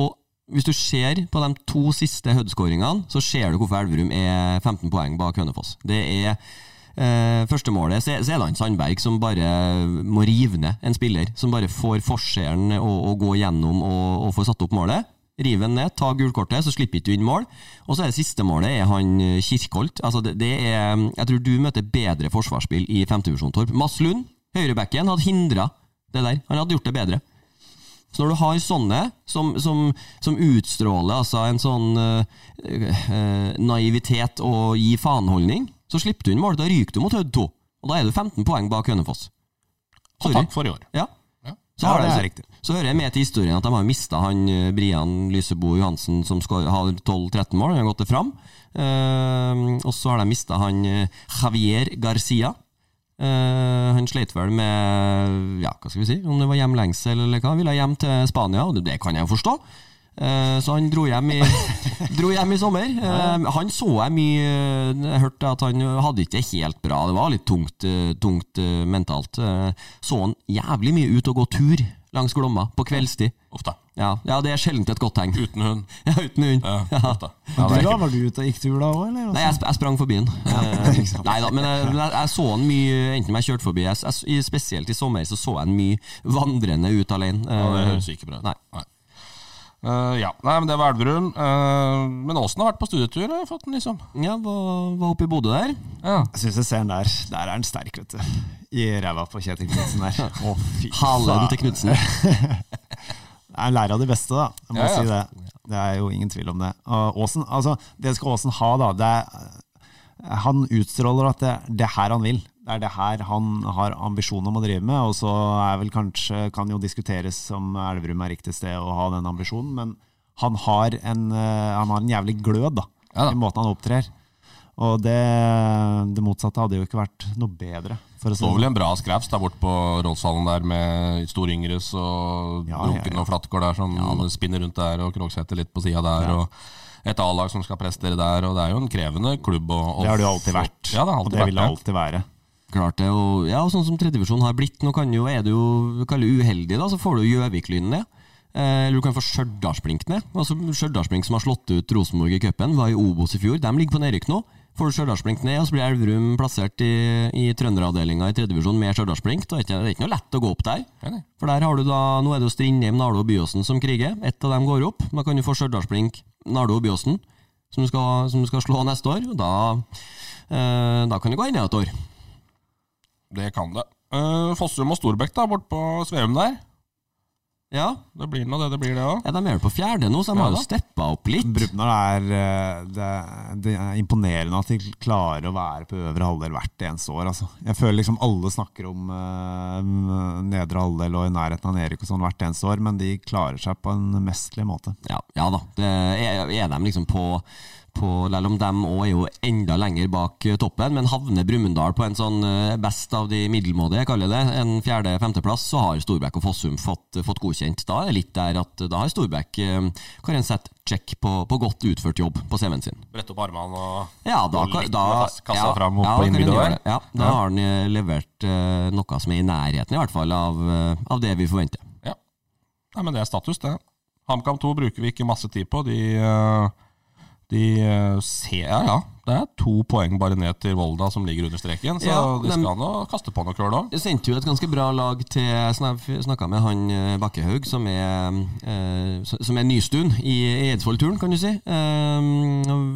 Speaker 2: Og hvis du ser på de to siste Hødd-skåringene, så ser du hvorfor Elverum er 15 poeng bak Hønefoss. Det er eh, første målet så så er det han Sandberg som bare må rive ned en spiller. Som bare får forskjellen å, å gå gjennom og, og få satt opp målet. Riv den ned, ta gulkortet, så slipper ikke du inn mål. Og så er det siste målet er han eh, Kirkholt. Altså det, det er, jeg tror du møter bedre forsvarsspill i femtevisjon, Torp. Mads Lund, høyrebacken, hadde hindra det der. Han hadde gjort det bedre. Så når du har sånne som, som, som utstråler altså en sånn eh, eh, naivitet og gi faen-holdning, så slipper du inn mål. Da ryker du mot Hødd 2. Og da er du 15 poeng bak Hønefoss.
Speaker 3: Og takk for i år.
Speaker 2: Ja.
Speaker 3: Ja.
Speaker 2: Så,
Speaker 4: Ja,
Speaker 2: har
Speaker 4: det
Speaker 2: de-
Speaker 4: er riktig.
Speaker 2: så hører jeg med til historien at de har mista han eh, Brian Lysebo Johansen, som skår- har 12-13 mål. Han har gått det fram. Eh, og så har de mista han eh, Javier Garcia. Eh, han sleit vel med Ja, hva skal vi si? Om det var hjemlengsel eller hva. Han ville hjem til Spania, og det, det kan jeg jo forstå. Eh, Så han dro hjem i, dro hjem i sommer. Eh, Han så jeg mye Jeg hørte at han hadde ikke det helt bra. Det var litt tungt, eh, tungt eh, mentalt. Eh, Så han jævlig mye ut og gå tur langs Glomma på kveldstid.
Speaker 3: Uff da.
Speaker 2: Ja, ja det er sjelden et godt tegn.
Speaker 3: Uten hund.
Speaker 2: Ja, uten hund.
Speaker 3: Ja,
Speaker 2: Ja.
Speaker 3: uff da.
Speaker 4: Men du da, Var du ute og gikk tur da òg, eller?
Speaker 2: Nei, jeg, sp jeg sprang forbi den. Nei da, men jeg, jeg, jeg så han mye, enten jeg kjørte forbi jeg, s- jeg, Spesielt i sommer så så jeg han mye vandrende ut alene.
Speaker 3: Ja, det
Speaker 2: Eh,
Speaker 3: høres ikke bra ut.
Speaker 2: Nei.
Speaker 3: Eh, ja. Nei, men det var Elverum. Eh, men Åsen har vært på studietur, har jeg fått den, liksom.
Speaker 2: Ja, var, var oppe i Bodø der.
Speaker 3: Ja.
Speaker 4: Jeg syns jeg ser den der. Der er den sterk, vet du. I ræva på Kjetil Knutsen der. Å, fy
Speaker 2: Halen
Speaker 4: faen.
Speaker 2: til Knutsen.
Speaker 4: Det er lære av de beste, da. Jeg må
Speaker 3: Ja, ja.
Speaker 4: si det. Det er jo ingen tvil om det. Og Aasen, altså, det skal Aasen ha, da. Det er, han utstråler at det, det er her han vil. Det er det her han har ambisjon om å drive med. Og så er vel kanskje, kan jo diskuteres om Elverum er riktig sted å ha den ambisjonen, men han har en, eh, han har en jævlig glød da,
Speaker 3: Ja da.
Speaker 4: i måten han opptrer. Og det, det motsatte hadde jo ikke vært noe bedre. For å si
Speaker 3: Det var
Speaker 4: det. sånn.
Speaker 3: vel en bra skrevs der borte på Rådshallen der med Stor Yngres og
Speaker 4: Ja, ja,
Speaker 3: Lunken
Speaker 4: ja.
Speaker 3: og Flatgård der som spinner rundt der, og Krogseter litt på sida der, og et A-lag som skal prestere der, og det er jo en krevende klubb. Og, og
Speaker 4: Det har det jo alltid vært,
Speaker 3: Ja, det har
Speaker 4: og
Speaker 3: alltid
Speaker 4: det
Speaker 3: vært
Speaker 4: vil det alltid være.
Speaker 2: Klart det, og ja, og sånn som tredjevisjon har blitt, nå kan jo, er du jo kall det uheldig, da, så får du Gjøvik-lynen ned. Eh, Eller du kan få Stjørdalsblink ned. Altså, Stjørdalsblink som har slått ut Rosenborg i cupen, var i Obos i fjor. De ligger på nedrykk nå. Får du Stjørdalsblink ned, og så blir Elverum plassert i, i trønderavdelinga i tredjevisjon med Stjørdalsblink. Da er det ikke- det er ikke noe lett å gå opp der.
Speaker 3: Nei, nei.
Speaker 2: For der har du da, Nå er det jo Strindheim, Nardo og Byåsen som kriger. Ett av dem går opp. Da kan du få Stjørdalsblink, Nardo og Byåsen, som du skal, som du skal slå neste år. Og da, eh, da kan det gå enda et år.
Speaker 3: Det kan det. Eh, Fossum og Storbekk da, borte på Sveum der.
Speaker 2: Ja,
Speaker 3: Det blir nå det det blir, det òg.
Speaker 2: Ja, De er jo på fjerde nå, så de
Speaker 3: Ja
Speaker 2: har jo
Speaker 3: da.
Speaker 2: steppa opp litt.
Speaker 4: Brumunddal er eh, det, det er imponerende at de klarer å være på øvre halvdel hvert eneste år. Altså. Jeg føler liksom alle snakker om eh, nedre halvdel og i nærheten av nedrykk og sånn hvert eneste år, men de klarer seg på en mesterlig måte.
Speaker 2: Ja, ja da. Det er, er de liksom på, på Selv om de òg er jo enda lenger bak eh, toppen, men havner Brumunddal på en sånn eh, best av de middelmådige, jeg kaller det, en fjerde-femteplass, så har Storbekk og Fossum fått, eh, fått godkjent. Da er det litt der at eh, da har Storbekk eh, Karin sett check på, på godt utført jobb på CV-en sin.
Speaker 3: Brette opp armene og
Speaker 2: Ja, da,
Speaker 3: Og
Speaker 2: kan-
Speaker 3: litt
Speaker 2: da,
Speaker 3: med fast- kassa fram opp
Speaker 2: ja,
Speaker 3: på
Speaker 2: kan den
Speaker 3: innbyggeren
Speaker 2: gjøre
Speaker 3: der.
Speaker 2: det. Ja, da har han eh, levert eh, noe som er i nærheten, i hvert fall, av, eh, av det vi forventer.
Speaker 3: Ja. Nei, men det er status, det. HamKam 2 bruker vi ikke masse tid på. De, eh, de eh, ser Ja, ja. Det er to poeng bare ned til Volda som ligger under streken, så
Speaker 2: Ja,
Speaker 3: de
Speaker 2: dem-
Speaker 3: skal nå kaste på noe krøll òg.
Speaker 2: Jeg sendte jo et ganske bra lag til Jeg snakka med han eh, Bakkehaug, som er, eh, som er nystuen i Eidsvollturen, kan du si. Eh,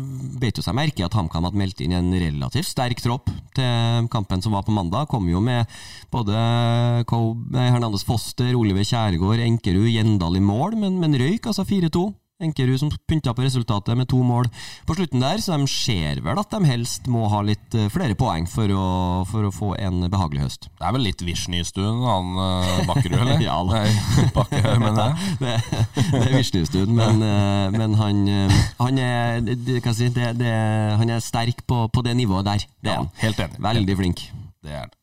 Speaker 2: Beit jo seg merke i at HamKam hadde meldt inn en relativt sterk tropp til kampen som var på mandag. Kom jo med både Ko- nei, Hernandez Foster, Oliver Kjærgaard, Enkerud, Gjendal i mål, men, men røyk altså 4-2. Enkerud som pynta på resultatet med to mål på slutten der, så de ser vel at de helst må ha litt eh, flere poeng for å, for å få en behagelig høst.
Speaker 3: Det er vel litt Vishny-stuen, han eh, Bakkerud, eller?
Speaker 2: Ja da.
Speaker 3: Nei, Bakkerud, men eh, det.
Speaker 2: Det, det er Vishnustuen, men, eh, men han, eh, han, er, det, kan jeg si, det, det, han er sterk på, på det nivået der. Det er han.
Speaker 3: helt enig.
Speaker 2: Veldig flink.
Speaker 3: Det er det.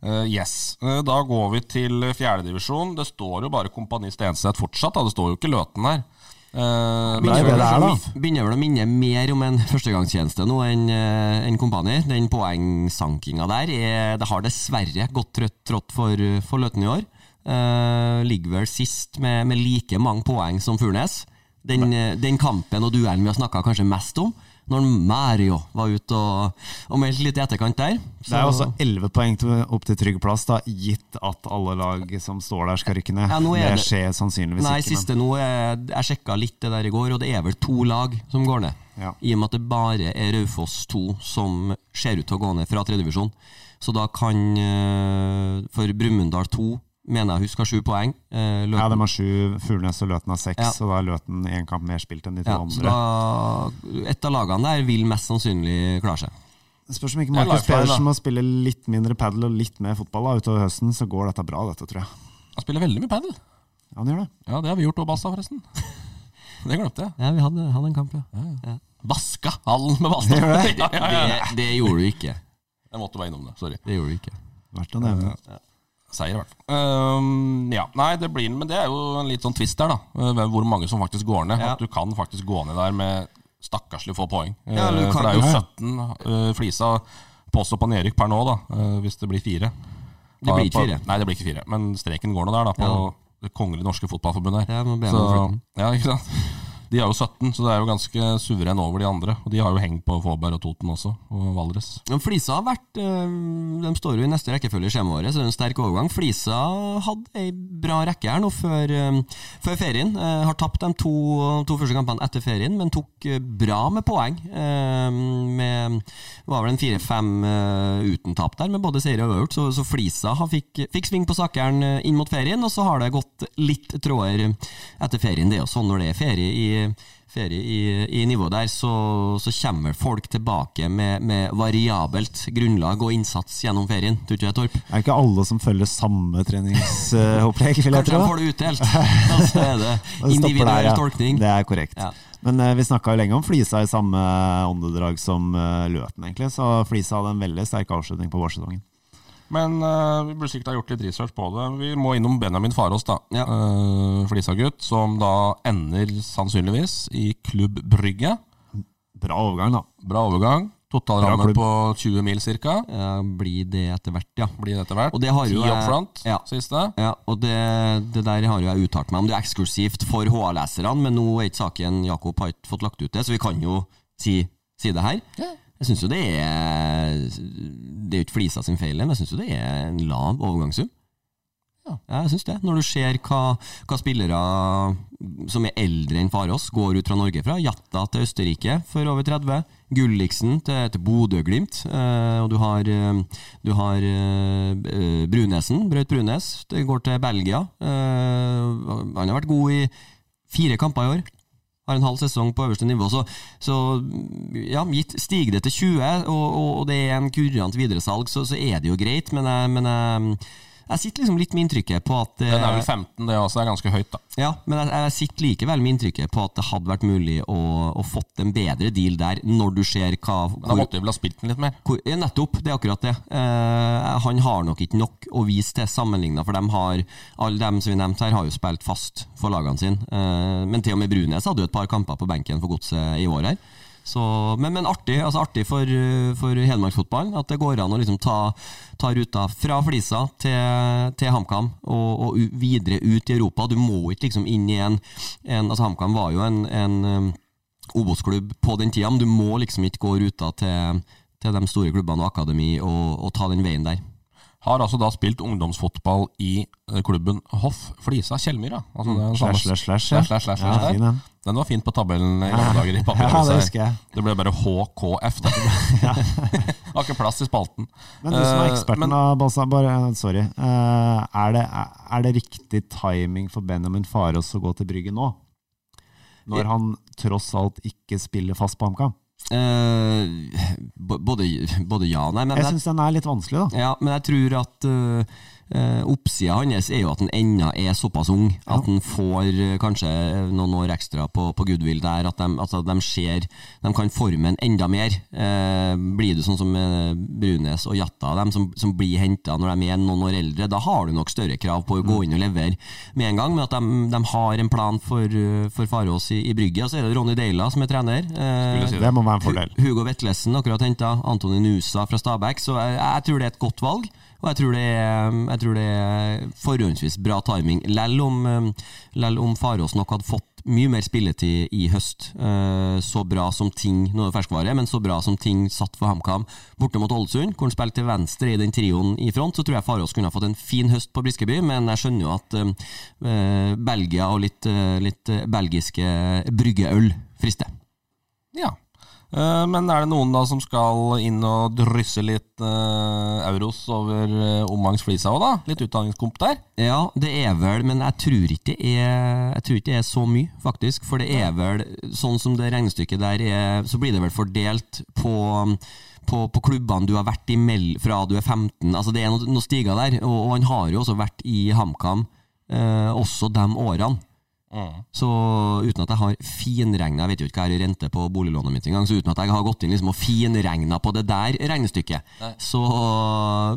Speaker 3: Eh, yes. Eh, da går vi til fjerdedivisjon. Det står jo bare Kompani Stenseth fortsatt, da. Det står jo ikke Løten her. Eh,
Speaker 4: Det er jo det det er, da.
Speaker 2: Begynner vel å minne mer om en førstegangstjeneste nå enn eh, enn kompani. Den poengsankinga der er, det har dessverre gått trøtt trått for, for Løten i år. Eh, ligger vel sist med, med like mange poeng som Furnes. Den, eh, den kampen og duellen vi har snakka kanskje mest om, når Mario var ute og, og meldte litt i etterkant der.
Speaker 4: Det er jo også 11 poeng til, opp til trygg plass, da, gitt at alle lag som står der, skal rykke ned.
Speaker 2: Ja, nå er
Speaker 4: det
Speaker 2: det-
Speaker 4: skjer sannsynligvis
Speaker 2: Nei,
Speaker 4: ikke.
Speaker 2: siste nå er, Jeg sjekka litt det der i går, og det er vel to lag som går ned.
Speaker 4: Ja.
Speaker 2: I og med at det bare er Raufoss 2 som ser ut til å gå ned fra tredjevisjon. Så da kan eh, For Brumunddal 2 mener jeg husker sju poeng. eh,
Speaker 4: Men, ja,
Speaker 2: Løten-
Speaker 4: de har sju, Furnes og Løten har seks,
Speaker 2: Ja.
Speaker 4: og da er Løten én kamp mer spilt enn de to
Speaker 2: ja, så
Speaker 4: andre.
Speaker 2: da, et av lagene der vil mest sannsynlig klare seg.
Speaker 4: Det Spørs om ikke
Speaker 3: Det er
Speaker 4: Markus
Speaker 3: lifeline, da.
Speaker 4: Pedersen må spille litt mindre padel og litt mer fotball da, utover høsten, så går dette bra, dette, tror jeg.
Speaker 3: Han spiller veldig mye padel.
Speaker 4: Ja, han gjør det.
Speaker 3: Ja, det har vi gjort òg, Basta, forresten. Det glemte jeg.
Speaker 2: Ja, vi hadde, hadde en kamp, ja.
Speaker 3: Vaska hallen med Basta!
Speaker 4: Gjør det?
Speaker 3: Ja, ja, ja.
Speaker 2: Det, det gjorde du ikke.
Speaker 3: Jeg måtte bare innom det. Sorry.
Speaker 2: Det gjorde du ikke.
Speaker 4: Verdt å nevne.
Speaker 3: Seier, i hvert fall. Ehm, ja. Nei, det blir Men det er jo en litt sånn twist der, da. Eh, hvem- Hvor mange som faktisk går ned.
Speaker 2: Ja.
Speaker 3: At du kan faktisk gå ned der med stakkarslig få poeng. Eh,
Speaker 2: Ja, eller du
Speaker 3: For det
Speaker 2: kan-
Speaker 3: er jo
Speaker 2: Ja, ja.
Speaker 3: 17 eh, flisa påstå på nedrykk per nå, da. eh, hvis det blir fire.
Speaker 2: Det blir ikke
Speaker 3: Ja, på-
Speaker 2: fire.
Speaker 3: Nei, det blir ikke fire. Men streken går nå der, da. På
Speaker 2: Ja.
Speaker 3: Det kongelige norske fotballforbundet her.
Speaker 2: Ja, må be om
Speaker 3: så,
Speaker 2: den
Speaker 3: ja, ikke sant? De har jo 17, så det er jo ganske suveren over de andre. Og de har jo hengt på Fåberg og Toten også, og Valdres.
Speaker 2: Men Flisa har vært eh, De står jo i neste rekkefølge i skjemaet vårt, så det er en sterk overgang. Flisa hadde ei bra rekke her nå før, eh, før ferien. Eh, Har tapt de to, to første kampene etter ferien, men tok eh, bra med poeng. Eh, Med det var vel en fire-fem eh, uten tap der, med både seier og uavgjort. Så, så Flisa har fikk, fikk sving på sakeren eh, inn mot ferien, og så har det gått litt tråder etter ferien. Det er jo sånn når det er ferie i ferie i, i nivået der, så, så kommer folk tilbake med, med variabelt grunnlag og innsats gjennom ferien. Tror ikke du det, Torp?
Speaker 4: Det er ikke alle som følger samme treningsopplegg, vil jeg
Speaker 2: Kanskje
Speaker 4: tro.
Speaker 2: de
Speaker 4: da.
Speaker 2: får det utdelt, og så er det
Speaker 4: Og det stopper
Speaker 2: individuell
Speaker 4: der, ja.
Speaker 2: tolkning.
Speaker 4: Det er korrekt.
Speaker 2: Ja.
Speaker 4: Men eh, vi snakka jo lenge om Flisa i samme åndedrag som eh, Løten, egentlig. Så Flisa hadde en veldig sterk avslutning på vårsesongen.
Speaker 3: Men eh, vi burde sikkert ha gjort litt research på det. Vi må innom Benjamin Farås, da.
Speaker 2: Ja.
Speaker 3: Eh, Flisagutt, som da ender sannsynligvis i Klubb Brygge.
Speaker 4: Bra overgang, da.
Speaker 3: Bra overgang. Totalramme
Speaker 4: Bra klubb.
Speaker 3: på 20 mil ca.
Speaker 2: Ja, blir det etter hvert, ja.
Speaker 3: Blir det etter hvert.
Speaker 2: Og det har jo
Speaker 3: Ti
Speaker 2: jeg-
Speaker 3: up front,
Speaker 2: ja.
Speaker 3: siste.
Speaker 2: Ja, og det, det der har jo jeg uttalt meg om. Det er eksklusivt for HA-leserne, men nå er ikke saken Jakob har ikke fått lagt ut det, så vi kan jo si, si det her. Jeg syns jo det er Det er jo ikke Flisa sin feil, men jeg syns jo det er en lav overgangssum. Ja, jeg syns det. Når du ser hva, hva spillere som er eldre enn Farås, går ut fra Norge fra. Jatta til Østerrike for over 30. Gulliksen til, til Bodø-Glimt. Eh, og du har, eh, du har eh, B- eh, Brunesen, Braut Brunes. Det går til Belgia. Eh, han har vært god i fire kamper i år. Har en halv sesong på øverste nivå. Så, så ja, gitt stiger det til 20, og, og, og det er en kurant videresalg, så, så er det jo greit, men, jeg- men jeg- jeg sitter liksom litt med inntrykket på at
Speaker 3: Den er
Speaker 2: eh,
Speaker 3: vel 15, det også er ganske høyt, da.
Speaker 2: ja, men jeg, jeg sitter likevel med inntrykket på at det hadde vært mulig å, å fått en bedre deal der, når du ser hva
Speaker 3: Men da
Speaker 2: hvor,
Speaker 3: måtte vi vel ha spilt den litt mer.
Speaker 2: hvor, ja, Nettopp, det er akkurat det. Eh, han har nok ikke nok å vise til sammenligna, for dem har, alle dem som vi nevnte her, har jo spilt fast for lagene sine. Eh, men til og med Brunes hadde jo et par kamper på benken for Godset i år her. Så, men, men artig, altså artig for, eh, for Hedmarksfotballen at det går an å liksom ta, ta ruta fra Flisa til, til HamKam og, og u- videre ut i Europa. Du må ikke liksom inn i en, en altså HamKam var jo en, en eh, Obos-klubb på den tida, men du må liksom ikke gå ruta til, til de store klubbene og akademi og, og ta den veien der.
Speaker 3: Har altså da spilt ungdomsfotball i eh, klubben Hoff Flisa Kjellmyra. Altså, det er den samme-
Speaker 4: Slash, slash,
Speaker 3: Slash,
Speaker 4: slash.
Speaker 3: slash, slash, slash,
Speaker 4: Ja,
Speaker 3: der.
Speaker 4: fin, den.
Speaker 3: Den var fint på tabellen i gamle dager. i
Speaker 4: Ja, det husker jeg.
Speaker 3: Det ble bare HKF. da. Har ikke plass i spalten.
Speaker 4: Men du som er
Speaker 3: Eh,
Speaker 4: eksperten,
Speaker 3: men-
Speaker 4: da, Balsa, bare, sorry. Eh, er, det, er det riktig timing for Benjamin Farås å gå til Brygge nå? når han tross alt ikke spiller fast på HamKam?
Speaker 2: Eh, b- både, både ja og nei. Men
Speaker 4: Jeg
Speaker 2: jeg,
Speaker 4: syns den er litt vanskelig, da.
Speaker 2: ja, men jeg tror at uh, oppsida hans er jo at han ennå er såpass ung. At han får eh, kanskje noen år ekstra på, på goodwill der. At de, altså, de ser De kan forme en enda mer. Eh, blir du sånn som eh, Brunes og Jatta, dem som, som blir henta når de er noen år eldre, da har du nok større krav på å gå inn og levere med en gang. Men at de, de har en plan for, eh, for Farås i, i brygget. Og så er det Ronny Deila som er trener. Eh,
Speaker 4: Det må være en fordel.
Speaker 2: Hu- Hugo Vetlesen akkurat henta Antoni Nusa fra Stabæk, så jeg, jeg tror det er et godt valg. Og jeg tror det er, eh, jeg tror det er forhåndsvis bra timing, lell om, eh, lell om Farås nok hadde fått mye mer spilletid i høst. Eh, Så bra som ting Nå er det ferskvare, men så bra som ting satt for HamKam borte mot Ålesund, hvor han spilte til venstre i den trioen i front, så tror jeg Farås kunne ha fått en fin høst på Briskeby, men jeg skjønner jo at eh, Belgia og litt, eh, litt eh, belgiske bryggeøl frister.
Speaker 3: Ja. Eh, Men er det noen da som skal inn og drysse litt eh, euros over eh, Omangs flisa òg, da? Litt utdanningskomp der?
Speaker 2: Ja, det er vel, men jeg tror ikke det er, jeg tror ikke det er så mye, faktisk. For det er vel, sånn som det regnestykket der er, så blir det vel fordelt på på, på klubbene du har vært i mell fra du er 15. Altså Det er noen noe stiger der. Og, og han har jo også vært i HamKam, eh, også de årene. Så uten at jeg har finregna Jeg vet jo ikke hva jeg har i rente på boliglånet mitt engang, så uten at jeg har gått inn liksom og finregna på det der regnestykket Så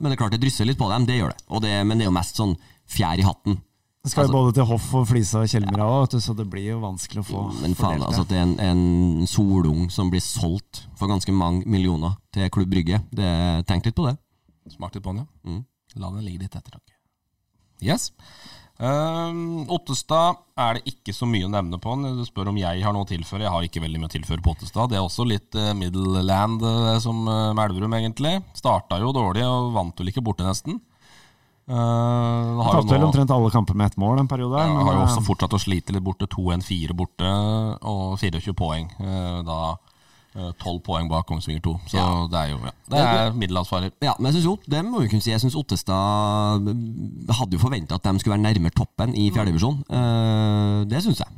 Speaker 2: Men det er klart det drysser litt på dem, det gjør det. Og det men det er jo mest sånn fjær i hatten.
Speaker 4: Det skal jo
Speaker 2: Altså-
Speaker 4: både til hoff og flisa og Kjellmyra òg, vet du, så det blir jo vanskelig å få
Speaker 2: Men faen,
Speaker 4: fordelt
Speaker 2: altså at det er en, en solung som blir solgt for ganske mange millioner til Klubb Brygge. Det, tenk litt på det.
Speaker 3: Smak litt på den, ja.
Speaker 2: Mm.
Speaker 3: La den ligge litt etter dere. Yes. Um, Ottestad er det ikke så mye å nevne på. Du spør om jeg har noe å tilføre. Jeg har ikke veldig mye å tilføre på Ottestad. Det er også litt eh, middle land eh, som eh, med Elverum, egentlig. Starta jo dårlig og vant vel ikke borte, nesten. Eh, har,
Speaker 4: Tapte vel
Speaker 3: jo nå,
Speaker 4: omtrent alle kamper med ett mål en periode. her,
Speaker 3: ja,
Speaker 4: men,
Speaker 3: har jo
Speaker 4: eh,
Speaker 3: også fortsatt å slite litt borte. 2-1-4 borte og 24 poeng. Eh, da eh, 12 poeng bak Kongsvinger 2. Så det er jo ja. Det er middelhavsfarer.
Speaker 2: Ja, men jeg synes, Ott- det må vi kunne si. Jeg synes Ottestad hadde jo forventa at de skulle være nærmere toppen i fjerdedivisjon. Uh, det syns jeg.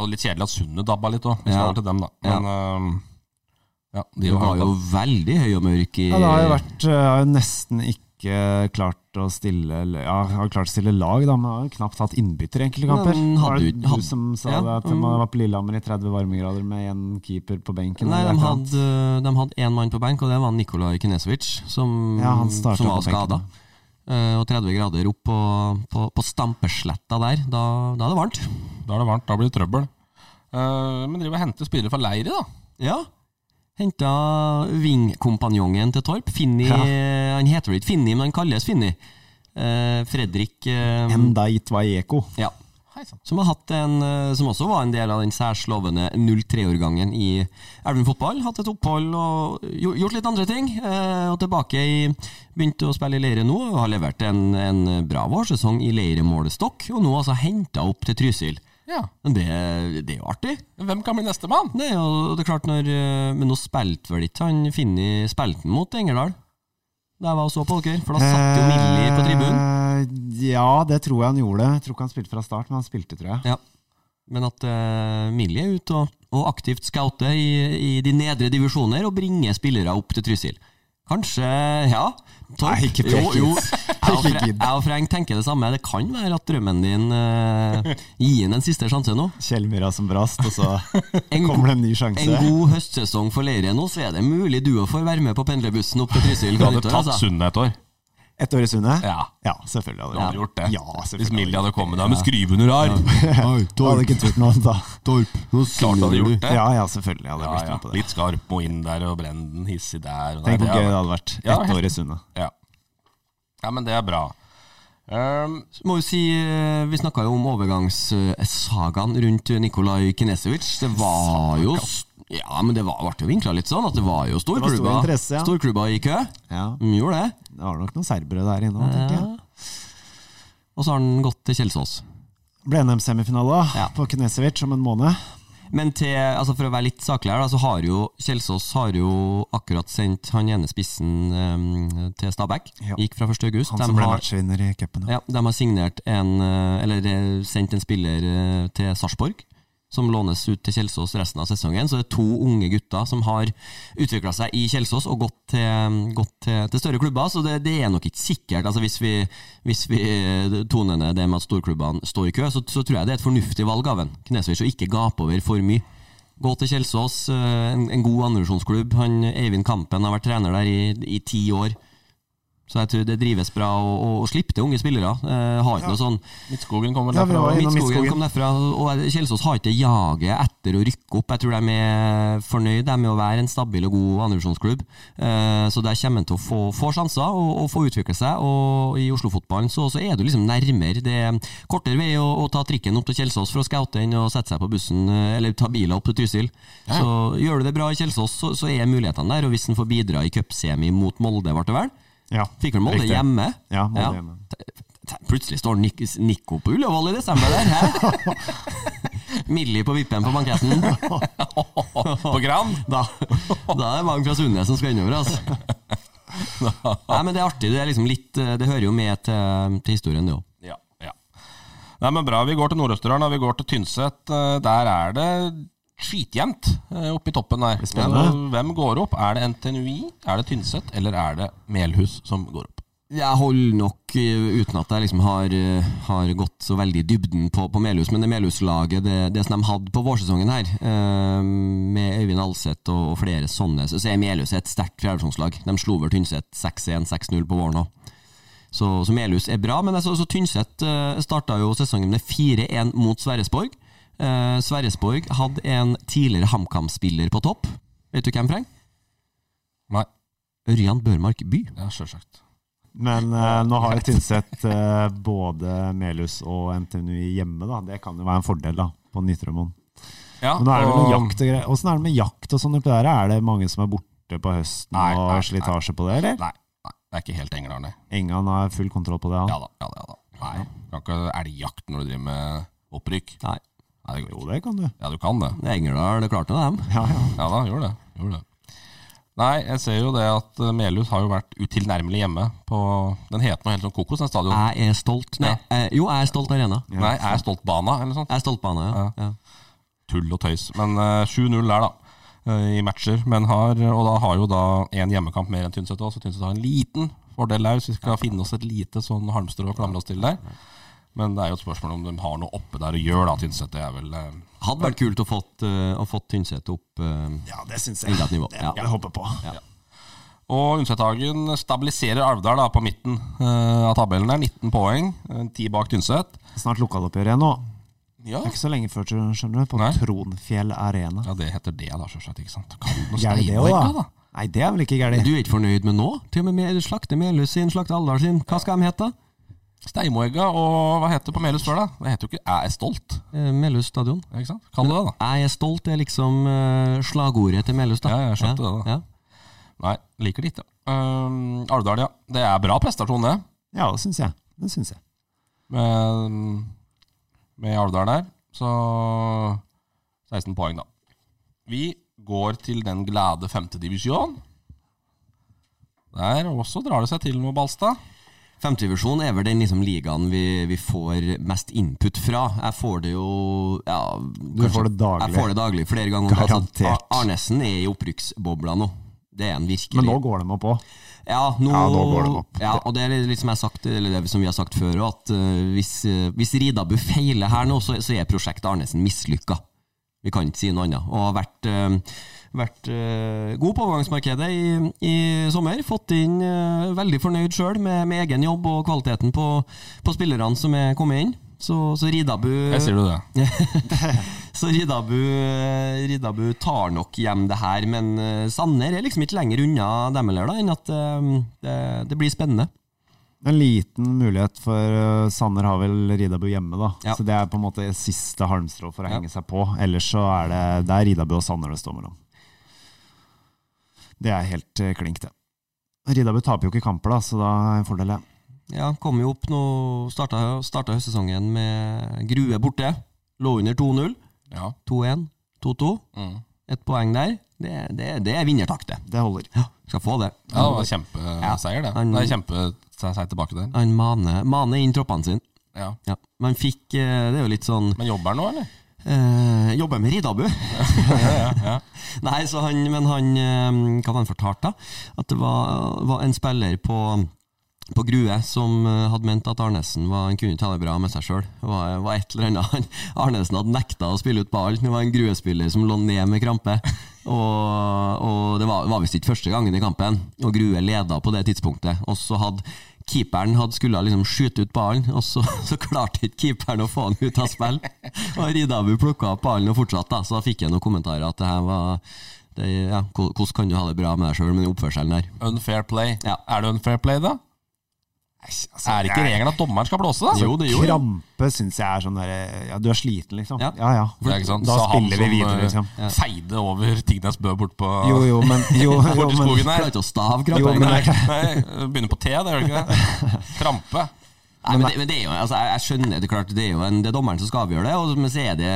Speaker 3: Og litt kjedelig at Sundet dabba litt òg, hvis det
Speaker 2: Ja.
Speaker 3: var til dem, da. Men øhm, ja, de
Speaker 2: Du
Speaker 3: var
Speaker 2: var jo veldig høy og mørk i
Speaker 4: Ja, det har jo vært eh, har jo nesten ikke klart å stille Ja, har klart å stille lag, da, men har jo knapt hatt innbytter i enkelte kamper.
Speaker 2: Men hadde
Speaker 4: Var det
Speaker 2: du-
Speaker 4: du
Speaker 2: hadde-
Speaker 4: som sa
Speaker 2: ja, mm.
Speaker 4: det at de var på Lillehammer i 30 varmegrader med én keeper på benken?
Speaker 2: Nei,
Speaker 4: eller
Speaker 2: de
Speaker 4: et eller annet?
Speaker 2: hadde, de hadde én mann på benk, og det var Nikolaj Kinesovic, som,
Speaker 4: Ja, han startet
Speaker 2: som var
Speaker 4: på benken.
Speaker 2: skada. Og 30 grader opp på, på, på Stampesletta der, da, da er det varmt.
Speaker 3: Da er det varmt, da blir det trøbbel. Eh, men driver og henter spillere fra Leiri, da.
Speaker 2: Ja. Henta vingkompanjongen til Torp. Finni Han heter vel ikke Finni, men han kalles Finni. Eh, Fredrik eh,
Speaker 4: Endait Vaieko.
Speaker 2: Ja.
Speaker 3: Hei sann.
Speaker 2: Som, har hatt en, eh, som også var en del av den særslovende 03-årgangen i Elven fotball. Hatt et opphold og gjo- gjort litt andre ting. eh, Og tilbake i Begynte å spille i Leire nå og har levert en, en bra vårsesong i Leiremålestokk. Og nå altså henta opp til Trysil.
Speaker 3: Ja.
Speaker 2: Men Det, det er jo artig.
Speaker 3: Hvem kan bli nestemann?
Speaker 2: Det er jo det er klart når eh, Men nå spilte vel ikke han Finni spilte han mot Engerdal? Da jeg var og så på dere, for da satt jo Millie på tribunen.
Speaker 4: Eh, Ja, det tror jeg han gjorde. Jeg tror ikke han spilte fra start, men han spilte, tror jeg.
Speaker 2: Ja. Men at uh, Millie er ute og, og aktivt scouter i, i de nedre divisjoner og bringer spillere opp til Trysil. Kanskje Ja. Torp.
Speaker 4: Nei, ikke
Speaker 2: jo,
Speaker 4: prekk.
Speaker 2: jo. Jeg og,
Speaker 4: Ikke
Speaker 2: Fre- jeg
Speaker 4: gidd.
Speaker 2: og Freng tenker det samme. Det kan være at drømmen din eh, gir inn en siste sjanse nå.
Speaker 4: Kjellmyra som brast, og så
Speaker 2: En
Speaker 4: kommer det en ny
Speaker 2: En
Speaker 4: sjanse.
Speaker 2: god høstsesong for Leire nå, så er det mulig du òg får være med på pendlerbussen opp til Trysil.
Speaker 3: Du hadde
Speaker 2: Granitår,
Speaker 3: tatt
Speaker 2: altså.
Speaker 3: Sundet et år.
Speaker 4: Ett år i Sundet?
Speaker 3: Ja.
Speaker 4: ja, selvfølgelig. hadde
Speaker 3: Du hadde
Speaker 4: det.
Speaker 3: gjort det.
Speaker 4: Ja, selvfølgelig
Speaker 3: Hvis Millie
Speaker 4: hadde
Speaker 3: hadde kommet der med skrivehunder her.
Speaker 4: Jeg hadde ikke turt noe annet, da.
Speaker 3: Klart hadde gjort det.
Speaker 4: Ja, ja, selvfølgelig hadde
Speaker 3: Ja,
Speaker 4: jeg blitt
Speaker 3: ja.
Speaker 4: med på det.
Speaker 3: Litt skarp og inn der og brenn den hissig der. Og
Speaker 4: Tenk
Speaker 3: der.
Speaker 4: hvor gøy det hadde vært. Ett
Speaker 3: Ja, helt-
Speaker 4: år i Sundet.
Speaker 3: Ja. ja, men det er bra. Um,
Speaker 2: Må jo si, eh, Vi snakka jo om overgangssagaen rundt Nikolaj Kinesevic. Det var jo s- Ja, men det var, ble jo vinkla litt sånn at det var jo
Speaker 4: var stor
Speaker 2: storklubba
Speaker 4: interesse, ja.
Speaker 2: Storklubba i kø.
Speaker 4: Ja,
Speaker 2: De gjorde det.
Speaker 4: det var nok noen serbere der inne òg, tenker jeg.
Speaker 2: Og så har han gått til Kjelsås.
Speaker 4: Ble NM-semifinale
Speaker 2: Ja.
Speaker 4: på Knesevic om en måned.
Speaker 2: Men til, altså for å være litt saklig her, da, så har jo Kjelsås har jo akkurat sendt han ene spissen eh, til Stabæk.
Speaker 4: Ja.
Speaker 2: Gikk fra 1. august.
Speaker 4: Han
Speaker 2: De
Speaker 4: som ble
Speaker 2: har-
Speaker 4: matchvinner i cupen. Ja.
Speaker 2: Ja, de har signert en eh, Eller eh, sendt en spiller eh, til Sarpsborg. som lånes ut til Kjelsås resten av sesongen. Så det er to unge gutter som har utvikla seg i Kjelsås og gått til, eh, gått til, til større klubber. Så det, det er nok ikke sikkert. Altså hvis, vi, hvis vi eh, toner ned det med at storklubbene står i kø, så, så tror jeg det er et fornuftig valg av en Knesvik å ikke gape over for mye. Gå til Kjelsås, eh, en, en god andrevisjonsklubb. Han Eivind Kampen har vært trener der i, i ti år. Så jeg tror det drives bra å, å, å slippe til unge spillere. Eh, har ikke noe sånn
Speaker 3: Midtskogen kommer
Speaker 4: Ja, vi
Speaker 3: derfra.
Speaker 4: var innom
Speaker 2: Midtskogen
Speaker 4: Midtskogen.
Speaker 2: kom derfra, og Kjelsås har ikke jaget etter å rykke opp. Jeg tror de er fornøyd de er med å være en stabil og god andrevisjonsklubb. Eh, Så der kommer han til å få, få sjanser og, og få utvikle seg. Og i Oslo-fotballen så, så er du liksom nærmere. Det er kortere vei å, å ta trikken opp til Kjelsås for å scoute enn å sette seg på bussen eh, eller ta biler opp til Trysil. Så gjør du det bra i Kjelsås, så, så er mulighetene der. Og hvis han får bidra i cupsemi mot Molde, ble det vel?
Speaker 4: Ja,
Speaker 2: Fikk han Molde
Speaker 4: riktig.
Speaker 2: hjemme?
Speaker 4: Ja, Molde hjemme.
Speaker 2: T- t- Plutselig står Nik Nico på Ullevål i desember der, hæ? Millie på vippen på banketten.
Speaker 3: På Gran.
Speaker 2: Da, da er det mange fra Sundnes som skal innover, altså. Nei, men det er artig. Det, er liksom litt, eh, det hører jo med til, til historien, det òg.
Speaker 3: Ja, ja. Nei, men bra. Vi går til Nord-Østerdalen og vi går til Tynset. Eh, Der er det skitjevnt eh, oppe i toppen der.
Speaker 4: spennende.
Speaker 3: Men eh, Hvem går opp? Er det NTNUI, er det Tynset eller er det Melhus som går opp?
Speaker 2: Jeg holder nok eh, uten at jeg liksom har, eh, har gått så veldig i dybden på, på Melhus, men det Melhus-laget, det, det som de hadde på vårsesongen her, eh, med Øyvind Alseth og, og flere sånne, så, så er Melhus et sterkt fjerdevisjonslag. De slo over Tynset 6-1-6-0 på våren òg. Så, så Melhus er bra, men altså, så Tynset uh, starta jo sesongen med 4-1 mot Sverresborg. Eh, Sverresborg hadde en tidligere HamKam-spiller på topp. Vet du hvem, Preng?
Speaker 3: Nei.
Speaker 2: Ørjan Børmark By.
Speaker 3: Ja, sjølsagt.
Speaker 4: Men eh, nå har jo Tynset eh, både Melhus og NTNU hjemme, da. Det kan jo være en fordel da, på Nytremoen.
Speaker 3: Ja,
Speaker 4: Men nå er det vel
Speaker 3: og-
Speaker 4: noe jakt og greier. Åssen er det med jakt og sånn oppi der? Er det mange som er borte på høsten
Speaker 3: Nei, nei,
Speaker 4: og slitasje på det, eller?
Speaker 3: Nei, nei, det er ikke helt Engerdal, det.
Speaker 4: Engan har full kontroll på det, han.
Speaker 3: Ja da, ja da. Ja, da. Nei, kan ikke elgjakt når du driver med opprykk.
Speaker 2: Nei,
Speaker 3: Nei, det går
Speaker 4: Jo,
Speaker 3: ikke.
Speaker 4: det kan du.
Speaker 3: Ja, du kan det.
Speaker 2: det er Engerdal, det klarte dem.
Speaker 4: Ja, ja.
Speaker 3: Ja da, gjør det. Gjør det. Nei, jeg ser jo det at eh, Melhus har jo vært utilnærmelig hjemme på Den heter noe helt sånn kokos, den stadion.
Speaker 2: Jeg er stolt. Nei, eh, jo, jeg er stolt arena.
Speaker 3: Nei, er Stoltbana eller noe sånt.
Speaker 2: Jeg er stolt bane, ja. ja.
Speaker 3: Tull og tøys. Men eh, 7-0 der, da. eh, I matcher. Men har, og da har jo da én hjemmekamp mer enn Tynset òg, så Tynset har en liten fordel der, hvis vi skal finne oss et lite sånn halmstrå å klamre oss til der. Men det er jo et spørsmål om de har noe oppe der å gjøre, da, Tynset. Det er vel eh,
Speaker 2: Hadde vært kult å fått, eh, å fått Tynset opp eh,
Speaker 4: Ja, det syns jeg.
Speaker 2: enda et nivå. Ja.
Speaker 4: Jeg håper på.
Speaker 3: Og Undsethagen stabiliserer Alvdal da på midten eh, av tabellen. der, 19 poeng, eh, 10 bak Tynset.
Speaker 4: Snart lokaloppgjør igjen nå.
Speaker 3: Ja.
Speaker 4: Det er ikke så lenge før, skjønner du. På
Speaker 3: Nei.
Speaker 4: Tronfjell Arena.
Speaker 3: ja, det heter det, da, sjølsagt. Ikke sant? Kan noe
Speaker 4: Gæli det òg,
Speaker 3: steinmarka,
Speaker 4: da? Nei, det er vel ikke gæli.
Speaker 2: Du er ikke fornøyd med nå? Til og med med slakte Melhus sin, slakte Alvdal sin. Hva skal de hete?
Speaker 3: Steimoegga og hva heter det på Melhus før, da? Det heter jo ikke 'Jeg er stolt'.
Speaker 2: Eh, Melhus stadion.
Speaker 3: ikke sant? Kall det det, da.
Speaker 2: Jeg er stolt er liksom eh, slagordet til Melhus, da.
Speaker 3: Ja, jeg skjønte det da.
Speaker 2: Ja.
Speaker 3: Nei, liker det ikke. Um, Alvdal, ja. Det er bra prestasjon, det.
Speaker 4: Ja, det syns jeg. Det syns jeg.
Speaker 3: Med, Ehm, med Alvdal der. Så 16 poeng, da. Vi går til den glade femtedivisjon. Der også drar det seg til noe, Balstad.
Speaker 2: Femtedivisjon er vel den liksom ligaen vi, vi får mest input fra. Jeg får det jo ja, kanskje-
Speaker 4: får det daglig.
Speaker 2: Jeg får det daglig flere ganger.
Speaker 4: Garantert.
Speaker 2: Altså, Ar- Arnesen er i opprykksbobla nå. Det er han virkelig.
Speaker 4: Men nå går de opp òg.
Speaker 2: Ja, nå,
Speaker 4: Ja, nå går den opp.
Speaker 2: Ja, og det er litt som, jeg har sagt, eller det som vi har sagt før, også, at eh, hvis, eh, hvis Ridabu feiler her nå, så, så er prosjektet Arnesen mislykka. Vi kan ikke si noe annet. Og har vært, eh, vært eh, god på overgangsmarkedet i, i sommer. Fått inn eh, veldig fornøyd sjøl med, med egen jobb og kvaliteten på, på spillerne som er kommet inn. Så, så Ridabu
Speaker 3: Jeg sier du det.
Speaker 2: så Ridabu, eh, Ridabu tar nok hjem det her, men eh, Sanner er liksom ikke lenger unna dem heller, da, enn at eh, det, det blir spennende.
Speaker 4: En liten mulighet for eh, Sanner har vel Ridabu hjemme, da.
Speaker 2: Ja.
Speaker 4: Så det er på en måte siste halmstrå for å henge seg på. Ellers så er det, det er Ridabu og Sanner det står mellom. Det er helt eh, klink, det. Ridabu taper jo ikke kamper, da, så da er en fordel, ja.
Speaker 2: Ja, kom jo opp nå, starta, starta høstsesongen med Grue borte. Lå under 2-0.
Speaker 3: Ja.
Speaker 2: 2-1, 2-2.
Speaker 3: Mm.
Speaker 2: Ett poeng der. Det, det, det er vinnertakt, det.
Speaker 4: Det holder.
Speaker 2: Ja, skal få det.
Speaker 3: Ja, det var kjempeseier, det.
Speaker 2: Han-
Speaker 3: Det er kjempeseier tilbake der.
Speaker 2: Han maner, maner inn troppene sine.
Speaker 3: Ja.
Speaker 2: Ja. Man fikk eh, Det er jo litt sånn
Speaker 3: Men jobber han nå, eller?
Speaker 2: Eh, jobber med Ridabu. Nei, så han, men han eh, Hva var han fortalte, da? At det var, var en spiller på på Grue, som eh, hadde ment at Arnesen var, han kunne ta det bra med seg sjøl. Var, var et eller annet. Han- Arnesen hadde nekta å spille ut ball. Det var en Grue-spiller som lå ned med krampe. Og, og Det var, var visst ikke første gangen i kampen, og Grue leda på det tidspunktet. Og så hadde Keeperen hadde skulle liksom skyte ut ballen, og så, så klarte ikke keeperen å få han ut av spill. Og Ridabu plukka opp ballen og fortsatte, da. så da fikk jeg noen kommentarer at det her var det, ja, Hvordan kan du ha det bra med deg sjøl med den oppførselen der?
Speaker 3: Unfair play.
Speaker 2: Ja.
Speaker 3: Er det unfair play, da? er altså, det ikke regelen at dommeren skal blåse, da?
Speaker 2: Jo, det gjorde
Speaker 4: Krampe syns jeg er sånn derre Ja, du er sliten, liksom.
Speaker 2: Ja.
Speaker 4: Ja ja.
Speaker 3: Det er ikke sant?
Speaker 4: Da
Speaker 3: Sa han
Speaker 4: spiller vi
Speaker 3: som,
Speaker 4: videre,
Speaker 3: eh,
Speaker 4: liksom.
Speaker 3: Feide over Tignes Bø bort på
Speaker 4: Jo, jo, men Jo, jo,
Speaker 3: bort i
Speaker 4: men,
Speaker 3: skogen
Speaker 2: Nei.
Speaker 3: her.
Speaker 2: Klarer ikke å stave krampe.
Speaker 4: Jo, men
Speaker 2: egentlig.
Speaker 3: Nei, nei, begynner på T, det gjør det ikke det? Krampe.
Speaker 2: Nei, men, det, men det er jo, altså, jeg, jeg skjønner det klart, det er jo en, det er dommeren som skal avgjøre det. Og, men så er det,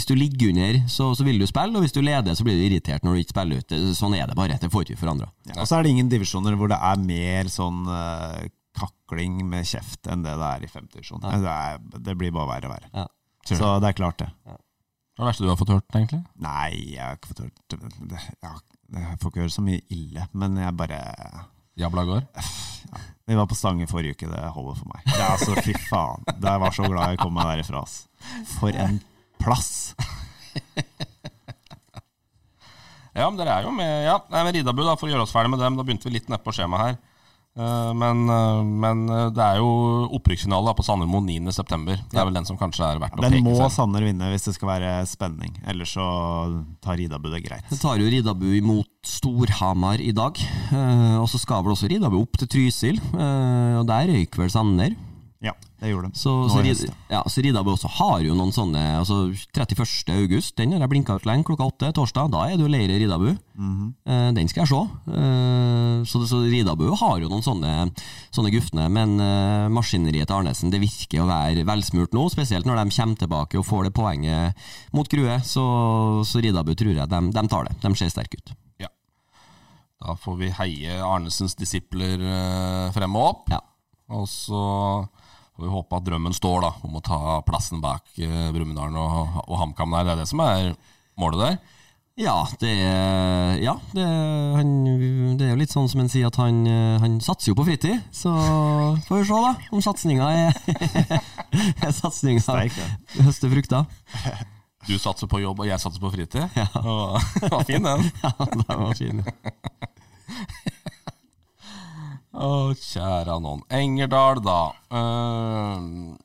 Speaker 2: hvis du ligger under, så, så vil du spille, og hvis du leder, så blir du irritert når du ikke spiller ut. Det- Sånn er det bare. Det får ikke vi forandra.
Speaker 4: ja. Og så er det ingen divisjoner hvor det er mer sånn eh, kakling med kjeft enn det det er i femte divisjon. Det, er- det blir bare verre og verre.
Speaker 2: Ja.
Speaker 4: Så det er klart, det.
Speaker 3: Hva er det verste du har fått hørt, egentlig?
Speaker 4: Nei, jeg har ikke fått hørt det, ja, Jeg får ikke høre så mye ille, men jeg bare eh,
Speaker 3: Jabla gård.
Speaker 4: Vi var på Stange forrige uke, det holder for meg. Det er altså, Fy faen. Det jeg var så glad jeg kom meg derifra. ass. For en plass!
Speaker 3: Ja, men dere er jo med. Ja, nei, men Ridabu, da, for å gjøre oss ferdig med dem. Da begynte vi litt nedpå skjemaet her. Eh, Men, eh, men eh, det er jo opprykksfinale da, på Sandermo 9.9. Det er vel den som kanskje er verdt å
Speaker 4: Den
Speaker 3: peke
Speaker 4: må
Speaker 3: frem.
Speaker 4: Sanner vinne hvis det skal være spenning. Ellers så tar Ridabu det greit.
Speaker 2: Så tar jo Ridabu imot Storhamar i dag, eh, og så skal vel også Ridabu opp til Trysil, eh, og der røyker vel Sanner.
Speaker 4: Ja, det gjorde de.
Speaker 2: Så,
Speaker 4: Nå
Speaker 2: så,
Speaker 4: i
Speaker 2: Rid,
Speaker 4: høst, ja.
Speaker 2: ja, så Ridabu også har jo noen sånne altså 31. august, den har jeg blinka ut lenge, klokka åtte torsdag. Da er det jo leire i Ridabu.
Speaker 4: Mhm.
Speaker 2: Eh, den skal jeg se. Eh, så, så Ridabu har jo noen sånne, sånne gufne. Men eh, maskineriet til Arnesen det virker å være velsmurt nå, spesielt når de kommer tilbake og får det poenget mot Grue. Så, så Ridabu tror jeg de, de tar det. De ser sterke ut.
Speaker 3: Da får vi heie Arnesens disipler eh, frem og opp.
Speaker 2: Ja.
Speaker 3: Og så får vi håpe at drømmen står da, om å ta plassen bak eh, Brumunddal og, og HamKam der. Det er det som er målet der.
Speaker 2: Ja, det er, ja det, er- han, det er jo litt sånn som en sier at han, eh, han satser jo på fritid. Så får vi se da om satsinga er, er satsinga
Speaker 4: Sterk, ja.
Speaker 2: høster frukter.
Speaker 3: Du satser på jobb, og jeg satser på fritid. Og, var fin den.
Speaker 2: Ja, det var fin.
Speaker 3: Å, kjære noen. Engerdal, da. Ehm,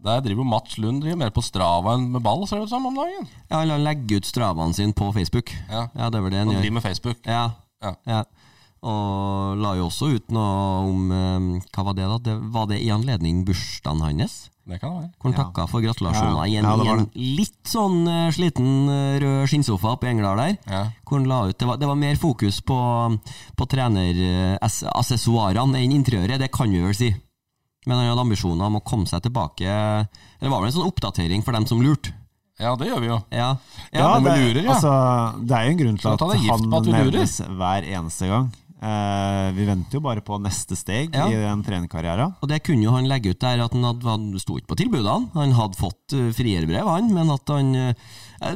Speaker 3: der driver jo Mats Lund driver mer på Strava enn med ball, ser det ut som, om dagen.
Speaker 2: Ja, han legger ut stravaen sin på Facebook.
Speaker 3: Ja.
Speaker 2: det var det han
Speaker 3: Han
Speaker 2: gjør.
Speaker 3: driver med Facebook.
Speaker 2: Ja,
Speaker 3: Ja.
Speaker 2: ja. Og la jo også ut noe om eh, Hva var det, da? Det, var det i anledning bursdagen hans?
Speaker 3: Det kan det være.
Speaker 2: Hvor han takka for gratulasjoner
Speaker 4: Ja.
Speaker 2: i en,
Speaker 4: Ja, det
Speaker 2: i
Speaker 4: var
Speaker 2: en
Speaker 4: det.
Speaker 2: litt sånn eh, sliten eh, rød skinnsofa oppe i Engerdal der.
Speaker 3: Ja.
Speaker 2: Hvor han la ut, det, var, det var mer fokus på, på trenerassessoarene enn interiøret, det kan vi vel si. Men han hadde ambisjoner om å komme seg tilbake Det var vel en sånn oppdatering for dem som lurte.
Speaker 3: ja, det gjør vi jo.
Speaker 2: Ja,
Speaker 4: Ja,
Speaker 3: men
Speaker 4: det,
Speaker 3: du lurer, ja.
Speaker 4: altså, det er jo en grunn til
Speaker 3: Skal
Speaker 4: at
Speaker 3: ta deg gift
Speaker 4: han
Speaker 3: på at du lurer.
Speaker 4: nevnes hver eneste gang. Eh, vi venter jo bare på neste steg
Speaker 2: Ja.
Speaker 4: i den trenerkarrieren.
Speaker 2: Og det kunne jo han legge ut der, at han, hadde, han sto ikke på tilbudene. Han hadde fått eh, frierbrev, han, men at han eh,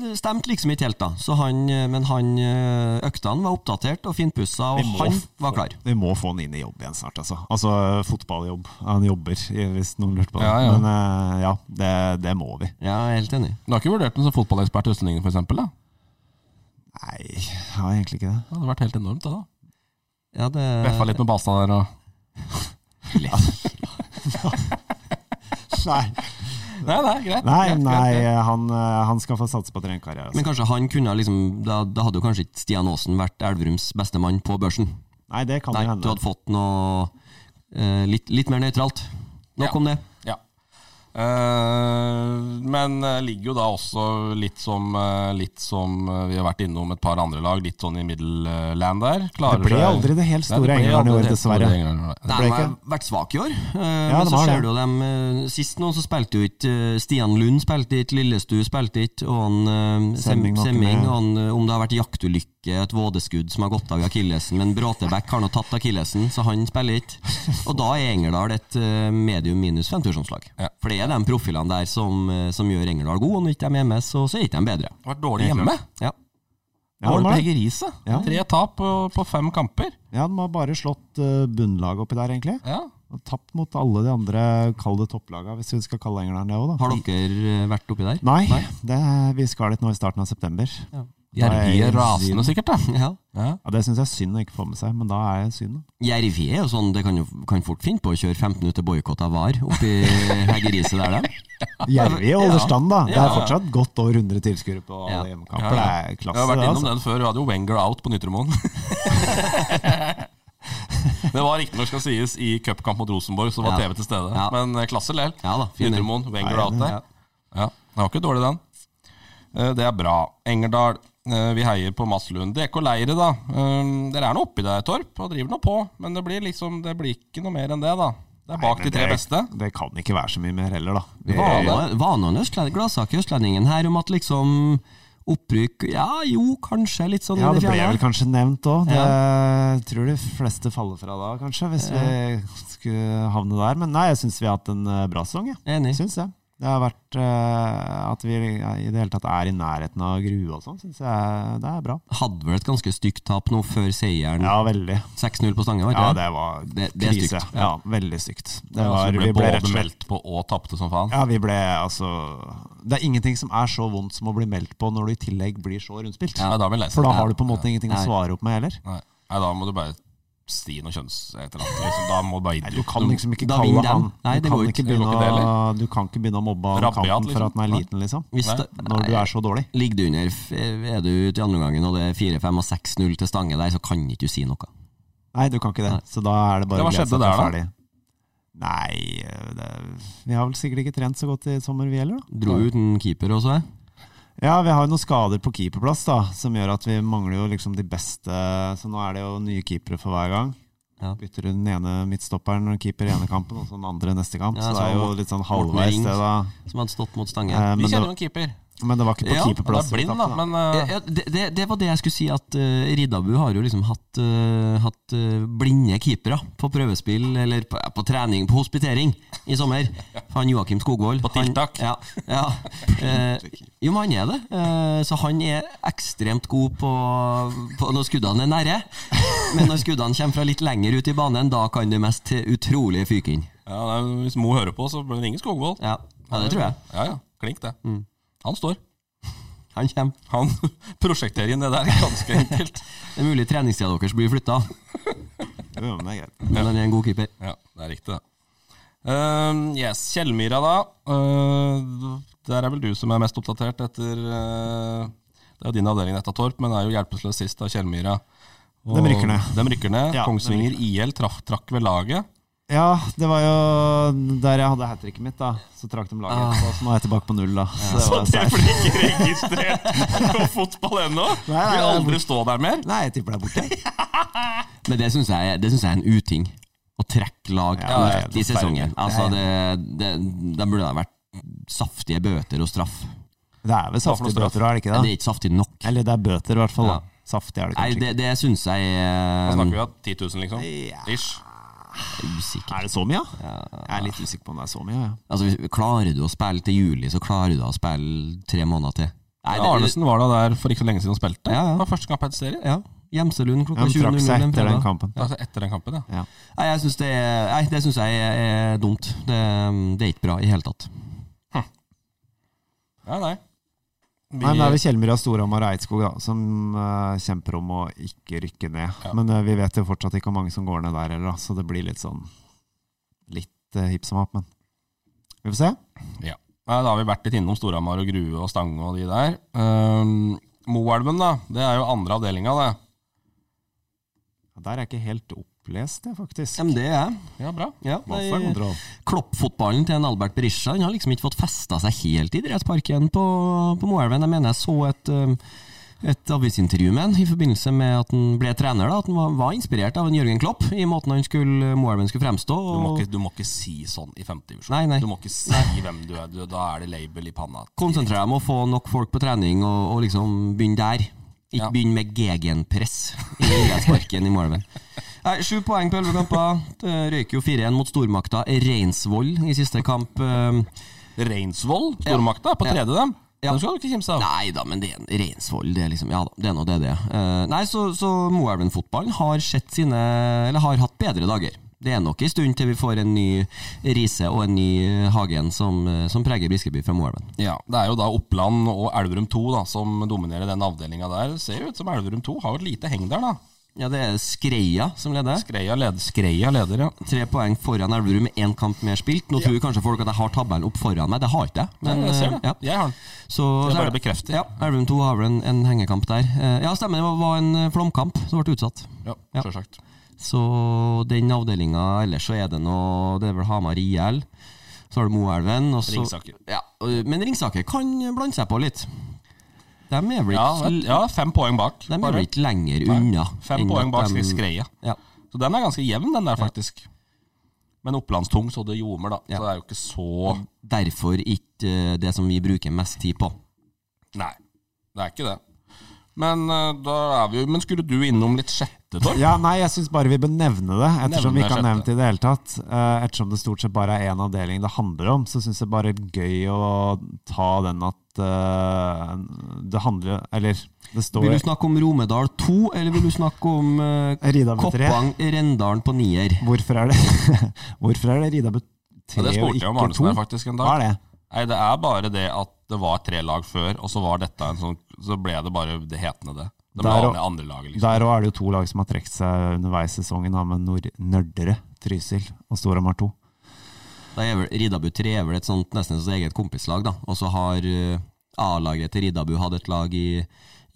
Speaker 2: Det stemte liksom ikke helt, da. Så han, eh, men han eh, øktene var oppdatert og finpussa,
Speaker 4: Vi
Speaker 2: og
Speaker 4: må
Speaker 2: han
Speaker 4: f-
Speaker 2: var klar.
Speaker 4: Vi må få han inn i jobb igjen snart, altså. Altså fotballjobb. Han jobber, hvis noen lurte på det.
Speaker 3: Ja, ja.
Speaker 4: Men eh, ja, det, det må vi.
Speaker 2: Ja, jeg er helt enig.
Speaker 3: Du har ikke vurdert den som fotballekspert i Østlendingen, for eksempel, da?
Speaker 4: Nei, jeg har egentlig ikke det.
Speaker 3: Det hadde vært helt enormt, det, da.
Speaker 2: Ja, det
Speaker 3: Beffa litt med Balstad der og
Speaker 4: Nei,
Speaker 3: Nei, nei, greit.
Speaker 4: nei,
Speaker 3: greit, greit, greit.
Speaker 4: han, eh, han skal få satse på trenerkarriere.
Speaker 2: Men
Speaker 4: Altså.
Speaker 2: kanskje han kunne ha liksom Da, da hadde jo kanskje ikke Stian Aasen vært Elverums beste mann på børsen.
Speaker 4: Nei, det kan
Speaker 2: Nei,
Speaker 4: jo hende.
Speaker 2: du hadde fått noe eh, litt, litt mer nøytralt. Nok
Speaker 3: Ja.
Speaker 2: om det.
Speaker 3: Ja. Eh, men eh, ligger jo da også litt som, eh, litt som eh, vi har vært innom et par andre lag, litt sånn i middelland der. Klarer
Speaker 4: Det ble
Speaker 3: seg-
Speaker 4: aldri det helt
Speaker 3: Nei,
Speaker 4: store
Speaker 3: ble
Speaker 4: England i
Speaker 3: aldri
Speaker 4: år,
Speaker 3: det helt store
Speaker 4: dessverre.
Speaker 3: England i år.
Speaker 2: Nei,
Speaker 4: ble
Speaker 2: De har
Speaker 4: ikke-
Speaker 2: vært svake i år, eh,
Speaker 4: Ja,
Speaker 2: men
Speaker 4: de
Speaker 2: så
Speaker 4: har
Speaker 2: ser
Speaker 4: det.
Speaker 2: du jo dem eh, Sist nå så spilte jo ikke eh, Stian Lund spilte ikke, Lillestue spilte ikke, og han eh, Sem-
Speaker 4: Semming var ikke
Speaker 2: Semming
Speaker 4: med.
Speaker 2: og han, eh, Om det har vært jaktulykke, et vådeskudd som har gått av i akillesen, men Bråtebekk har nå tatt akillesen, så han spiller ikke. Og da er Engerdal et eh, medium minus femtusjonslag.
Speaker 3: Ja.
Speaker 2: For det er de profilene der som, eh, som gjør Engerdal god, og når ikke de er hjemme, så, så er ikke de bedre.
Speaker 3: Har vært dårlig
Speaker 2: Helt
Speaker 3: hjemme.
Speaker 2: klart. Ja.
Speaker 4: Ja,
Speaker 3: Dårlig
Speaker 4: de
Speaker 3: på
Speaker 4: har,
Speaker 3: Hegge Riise.
Speaker 4: Ja.
Speaker 3: Tre tap på, på fem kamper.
Speaker 4: ja, de har bare slått eh, bunnlaget oppi der, egentlig.
Speaker 3: Ja.
Speaker 4: Og tapt mot alle de andre, kall det topplaga, hvis vi skal kalle Engerdal det òg, da.
Speaker 2: Har dere eh, vært oppi der?
Speaker 4: Nei, det, vi skal dit nå i starten av september. Ja,
Speaker 3: Jervi
Speaker 4: Nei,
Speaker 3: er rasende, sikkert. da
Speaker 2: Ja.
Speaker 3: ja.
Speaker 4: Det syns jeg er synd å ikke få med seg, men da er jeg synd. da.
Speaker 2: Jervi er jo sånn, det kan jo kan fort finne på å kjøre 15 minutter boikott av VAR oppi Heggeriset der, de.
Speaker 4: Jervi holder stand, da. Det
Speaker 3: Ja,
Speaker 4: er
Speaker 3: ja.
Speaker 4: fortsatt godt over 100 tilskuere på
Speaker 2: Ja.
Speaker 4: alle
Speaker 3: Ja,
Speaker 4: hjemmekamper. Det er
Speaker 3: Jeg har
Speaker 4: klasse,
Speaker 3: vært
Speaker 4: det.
Speaker 3: innom
Speaker 4: altså.
Speaker 3: den før. Vi hadde jo Wenger out på Nytremoen. det var riktignok skal sies i cupkamp mot Rosenborg, så var
Speaker 2: Ja.
Speaker 3: TV til stede.
Speaker 2: Ja.
Speaker 3: Men eh, klasse lell.
Speaker 2: Ja da, fin den.
Speaker 3: Nytremoen, Wenger
Speaker 4: Ja,
Speaker 3: out
Speaker 4: ja,
Speaker 3: der. Ja, Den var ikke dårlig, den. Eh, Det er bra. Engerdal, eh, vi heier på Maslund. DK Leire, da. Um, Dere er nå oppi der, Torp, og driver nå på. Men det blir liksom Det blir ikke noe mer enn det, da. Det er bak
Speaker 4: Men
Speaker 3: de tre
Speaker 4: det-
Speaker 3: beste.
Speaker 4: Det kan ikke være så mye mer heller, da. Vi-
Speaker 2: Vana- Vanene østlending- gladsak i Østlendingen her om at liksom opprykk Ja, jo, kanskje litt sånn
Speaker 4: Ja,
Speaker 2: i
Speaker 4: det
Speaker 2: det
Speaker 4: ble vel
Speaker 2: fjerne.
Speaker 4: kanskje nevnt òg. Jeg tror de fleste faller fra da, kanskje, hvis vi skulle havne der. Men nei, jeg syns vi har hatt en eh, bra sesong, jeg.
Speaker 2: Enig.
Speaker 4: Syns jeg. Det har vært eh, At vi i det hele tatt er i nærheten av grue og sånn, syns jeg det er bra.
Speaker 2: Hadde vel et ganske stygt tap nå før seieren.
Speaker 4: Ja, veldig.
Speaker 2: 6-0 på Stange, var
Speaker 4: Ja,
Speaker 2: ikke
Speaker 4: det var
Speaker 2: Det- det er
Speaker 4: krise.
Speaker 2: stygt. altså,
Speaker 4: Ja, veldig stygt. Det
Speaker 3: Ja, så
Speaker 4: var,
Speaker 3: ble
Speaker 4: vi ble
Speaker 3: både
Speaker 4: rett og slett
Speaker 3: meldt på og tapte som faen.
Speaker 4: ja, vi ble altså Det er ingenting som er så vondt som å bli meldt på når du i tillegg blir så rundspilt.
Speaker 3: Nei, da er vi lei
Speaker 4: For da
Speaker 3: oss.
Speaker 4: har du på en måte ingenting å
Speaker 2: altså, Nei.
Speaker 4: svare opp med heller.
Speaker 3: Nei. Nei, da må du bare si noe kjønns... Et eller annet. Liksom, da må du bare gi
Speaker 4: Nei, du
Speaker 3: dukk.
Speaker 4: kan
Speaker 3: Du-
Speaker 4: liksom ikke
Speaker 2: da
Speaker 4: kalle
Speaker 2: vinner den.
Speaker 4: han
Speaker 2: Nei,
Speaker 4: du
Speaker 2: det
Speaker 4: kan,
Speaker 2: går
Speaker 4: ikke
Speaker 2: ikke.
Speaker 4: begynne
Speaker 3: Det går ikke det,
Speaker 4: å, du kan ikke begynne å mobbe han
Speaker 3: Rabiat,
Speaker 4: kanten for
Speaker 3: liksom.
Speaker 4: at han er
Speaker 3: Nei.
Speaker 4: liten, liksom.
Speaker 2: det? Hvis
Speaker 3: Nei.
Speaker 2: det-
Speaker 4: Når du er så dårlig.
Speaker 2: Ligger du under, f- er du ute i andre gangen og det er 4-5 og 6-0 til Stange der, så kan ikke du si noe.
Speaker 4: Nei, du kan ikke det.
Speaker 2: Nei.
Speaker 4: Så da er det bare
Speaker 3: Ja, hva
Speaker 4: å glede
Speaker 3: skjedde
Speaker 4: seg til
Speaker 3: der,
Speaker 4: ferdig. Nei det, Vi har vel sikkert ikke trent så godt i sommer, vi heller, da.
Speaker 2: Dro ut en keeper også, eh? jeg.
Speaker 4: Ja, vi har jo noen skader på keeperplass, da, som gjør at vi mangler jo liksom de beste Så nå er det jo nye keepere for hver gang.
Speaker 2: Ja.
Speaker 4: Bytter den ene midtstopperen og keeper i ene kampen, og så den andre neste kamp.
Speaker 2: Ja,
Speaker 4: så, det
Speaker 2: så
Speaker 4: er jo
Speaker 2: Morten-
Speaker 4: litt sånn
Speaker 2: Morten
Speaker 4: halvveis,
Speaker 2: Ring.
Speaker 4: det, da.
Speaker 2: som hadde stått mot Stange.
Speaker 4: Eh,
Speaker 3: Vi
Speaker 4: men,
Speaker 3: kjenner jo
Speaker 4: det,
Speaker 3: en keeper.
Speaker 4: men det var ikke på
Speaker 3: Ja, han er
Speaker 4: keeperplass. vi
Speaker 3: blind,
Speaker 4: tapte,
Speaker 3: da, men eh,
Speaker 2: Ja, ja, det, det, det var det jeg skulle si, at eh, Riddabu har jo liksom hatt, eh, hatt eh, blinde keepere på prøvespill, eller på, ja, på trening, på hospitering, i sommer. For han Joakim Skogvold
Speaker 3: På
Speaker 2: han-
Speaker 3: tiltak.
Speaker 2: Ja, ja. Eh, jo, men han er det. Eh, så han er ekstremt god på, på når skuddene er nære. Men når skuddene kommer fra litt lenger ut i banen, da kan det mest til utrolige fyking.
Speaker 3: Ja, det er, Hvis Mo hører på, så bør det ringe Skogvold.
Speaker 2: Ja. ja, det tror jeg.
Speaker 3: Ja, ja. Klink, det.
Speaker 4: Mm.
Speaker 3: Han står.
Speaker 2: Han kommer.
Speaker 3: Han prosjekterer inn det der ganske enkelt.
Speaker 2: Det er mulig treningstida deres blir flytta,
Speaker 4: da. Jo, men det er greit.
Speaker 2: men han er en god keeper.
Speaker 3: Ja, det er riktig, det. Ehm, yes, Kjellmyra, da. Ehm, der er vel du som er mest oppdatert etter eh, Det er jo din avdeling, dette, Torp, men er jo hjelpeløs sist av Kjellmyra. Og
Speaker 4: Dem rykker ned.
Speaker 3: Dem rykker ned.
Speaker 4: Ja, dem
Speaker 3: Kongsvinger IL traff, trakk ved laget.
Speaker 4: Ja, det var jo der jeg hadde hat tricket mitt, da. Så trakk de laget.
Speaker 2: Ah.
Speaker 4: Så nå er jeg tilbake på null, da. Så det var seier.
Speaker 3: blir ikke registrert på fotball ennå!
Speaker 4: nei,
Speaker 3: Vil
Speaker 4: nei,
Speaker 3: aldri stå der mer.
Speaker 4: Nei, jeg tipper det er borte.
Speaker 2: Men det syns jeg, det synes jeg er en uting. Å trekke lag
Speaker 4: Ja, det er
Speaker 2: ut i sesongen. Altså, det, det, det burde ha vært saftige bøter og straff.
Speaker 4: Det er vel saftige bøter, er det ikke
Speaker 2: Det
Speaker 4: det?
Speaker 2: er ikke saftig nok.
Speaker 4: Eller det er bøter, i hvert fall. da.
Speaker 2: Ja.
Speaker 4: Saftig er det
Speaker 2: Nei,
Speaker 4: kanskje
Speaker 2: det, det syns jeg
Speaker 3: Da snakker
Speaker 2: eh,
Speaker 3: vi om 10 000, liksom.
Speaker 4: Ja.
Speaker 3: Ish.
Speaker 2: er usikkert.
Speaker 4: ikke. Er det så mye, da? Jeg er litt usikker på om det er så mye. Ja.
Speaker 2: Altså, hvis- klarer du å spille til juli, så klarer du å spille tre måneder til. Nei,
Speaker 3: Ja, Arnesen var da der for ikke så lenge siden og spilte.
Speaker 2: Ja, ja.
Speaker 3: Det var første kamp etter serien.
Speaker 2: ja. Gjemselund klokka
Speaker 4: De
Speaker 2: 20.00.
Speaker 4: trakk seg
Speaker 2: en
Speaker 4: etter den
Speaker 2: fredag.
Speaker 4: kampen.
Speaker 3: Altså etter den kampen, ja.
Speaker 2: Nei, jeg synes det, er- nei, det syns jeg er, er dumt. Det, det er ikke bra i hele tatt.
Speaker 3: Nei, nei. Vi,
Speaker 4: Nei, men Det er vel Kjellmyra, Storhamar og Eidskog da, som eh, kjemper om å ikke rykke ned. Men eh, vi vet jo fortsatt ikke hvor mange som går ned der heller, da, så det blir litt sånn Litt uh, hipp som happ, men vi får se.
Speaker 3: ja. Nei, da har vi vært litt innom Storhamar og Grue og Stange og de der. Um, Moelven, da. Det er jo andre avdelinga, det.
Speaker 4: Ja, Der er jeg ikke helt opplest, jeg, faktisk.
Speaker 2: Men det er jeg.
Speaker 3: Ja, bra.
Speaker 2: Ja,
Speaker 4: Hva
Speaker 2: nei,
Speaker 4: for kontroll?
Speaker 2: Kloppfotballen til en Albert Berisha Han har liksom ikke fått festa seg helt i idrettsparken på, på Moelven. Jeg mener jeg så et, um, et avisintervju med han i forbindelse med at han ble trener. da, At han var, var inspirert av en Jørgen Klopp i måten han skulle, Moelven skulle fremstå.
Speaker 3: Du må,
Speaker 2: Og
Speaker 3: ikke, du må ikke si sånn i femte divisjon.
Speaker 2: Nei, nei.
Speaker 3: Du må ikke si hvem du er. Du, da er det label i panna.
Speaker 2: konsentrere deg om å få nok folk på trening, og, og liksom begynne der. Ikke
Speaker 3: Ja.
Speaker 2: begynne med gegenpress i idrettsparken i Moelven. Nei, Sju poeng på elleve kamper. Det Røyker jo 4-1 mot stormakta Reinsvoll i siste kamp. eh,
Speaker 3: Reinsvoll, stormakta, er på tredje dem.
Speaker 2: Ja.
Speaker 3: Den skal du ikke kimse av.
Speaker 2: Nei da, men det er en Reinsvoll. Det er liksom, ja da, det er nå det det er. Eh, nei, så, så Moelven-fotballen har sett sine Eller har hatt bedre dager. Det er nok en stund til vi får en ny Riise og en ny Hagen som, eh, som preger Briskeby fra Moelven.
Speaker 3: Ja, Det er jo da Oppland og Elverum 2 da, som dominerer den avdelinga der. Det Ser jo ut som Elverum 2 har jo et lite heng der, da.
Speaker 2: Ja, det er Skreia som leder.
Speaker 3: Skreia leder, Skreia leder ja.
Speaker 2: Tre poeng foran Elverum med én kamp mer spilt. Nå tror kanskje folk at jeg har tabellen opp foran meg, det har ikke jeg. Men,
Speaker 3: jeg ser
Speaker 2: eh,
Speaker 3: det. Jeg har den.
Speaker 2: Så,
Speaker 3: Det er
Speaker 2: så
Speaker 3: bare
Speaker 2: er det-
Speaker 3: bekrefter.
Speaker 2: Ja, Elverum 2 har vel en, en hengekamp der. Eh, Ja, stemmer, det var- var en eh, flomkamp som ble utsatt.
Speaker 3: Ja,
Speaker 2: Ja.
Speaker 3: Sjølsagt.
Speaker 2: Så den avdelinga ellers så er det nå Det er vel Hamar IL. Så har du Moelven. og så-
Speaker 3: Ringsaker.
Speaker 2: Ja, og- men Ringsaker kan blande seg på litt. De er vel
Speaker 3: Ja,
Speaker 2: ikke,
Speaker 3: vet- ja, fem poeng bak.
Speaker 2: de er
Speaker 3: bare.
Speaker 2: vel ikke lenger
Speaker 3: Nei,
Speaker 2: unna.
Speaker 3: Fem
Speaker 2: enn
Speaker 3: poeng
Speaker 2: at
Speaker 3: bak
Speaker 2: de-
Speaker 3: Skreia.
Speaker 2: Ja.
Speaker 3: Så den er ganske jevn, den der, faktisk. Men opplandstung, så det ljomer, da.
Speaker 2: Ja. Mm.
Speaker 3: Så det er jo ikke så
Speaker 2: Derfor ikke eh, det som vi bruker mest tid på.
Speaker 3: Nei, det er ikke det. Men eh, da er vi jo Men skulle du innom litt sjette, Torp?
Speaker 4: Ja, nei, jeg syns bare vi bør nevne det, ettersom
Speaker 3: Nevne
Speaker 4: vi ikke har
Speaker 3: sjette.
Speaker 4: nevnt det i det hele tatt. Eh, Ettersom det stort sett bare er én avdeling det handler om, så syns jeg bare det er gøy å ta den at eh, det handler Eller det
Speaker 2: Vil
Speaker 4: står
Speaker 2: du snakke om Romedal 2, eller vil du snakke om eh,
Speaker 4: Rida med tre.
Speaker 2: Koppang Rendalen på nier?
Speaker 4: Hvorfor er det Hvorfor er det Ridabut
Speaker 3: Ja,
Speaker 4: 3
Speaker 3: det
Speaker 4: og
Speaker 3: spurte jeg om
Speaker 4: ikke
Speaker 3: Arnesen
Speaker 4: 2?
Speaker 3: her faktisk en
Speaker 4: Hva
Speaker 3: dag.
Speaker 4: er det?
Speaker 3: Nei, det er bare det at det var tre lag før, og så var dette en sånn Så ble det bare det hetende det. Det ble
Speaker 4: Der og-
Speaker 3: andre, andre laget, liksom.
Speaker 4: Der òg er det jo to lag som har trukket seg underveis i sesongen, da, med Nord Nørdere, Trysil og Storhamar 2.
Speaker 2: Da er vel Ridabu 3 er vel et sånt nesten et sånt eget kompislag, da. Og så har eh, A-laget til Ridabu hatt et lag i,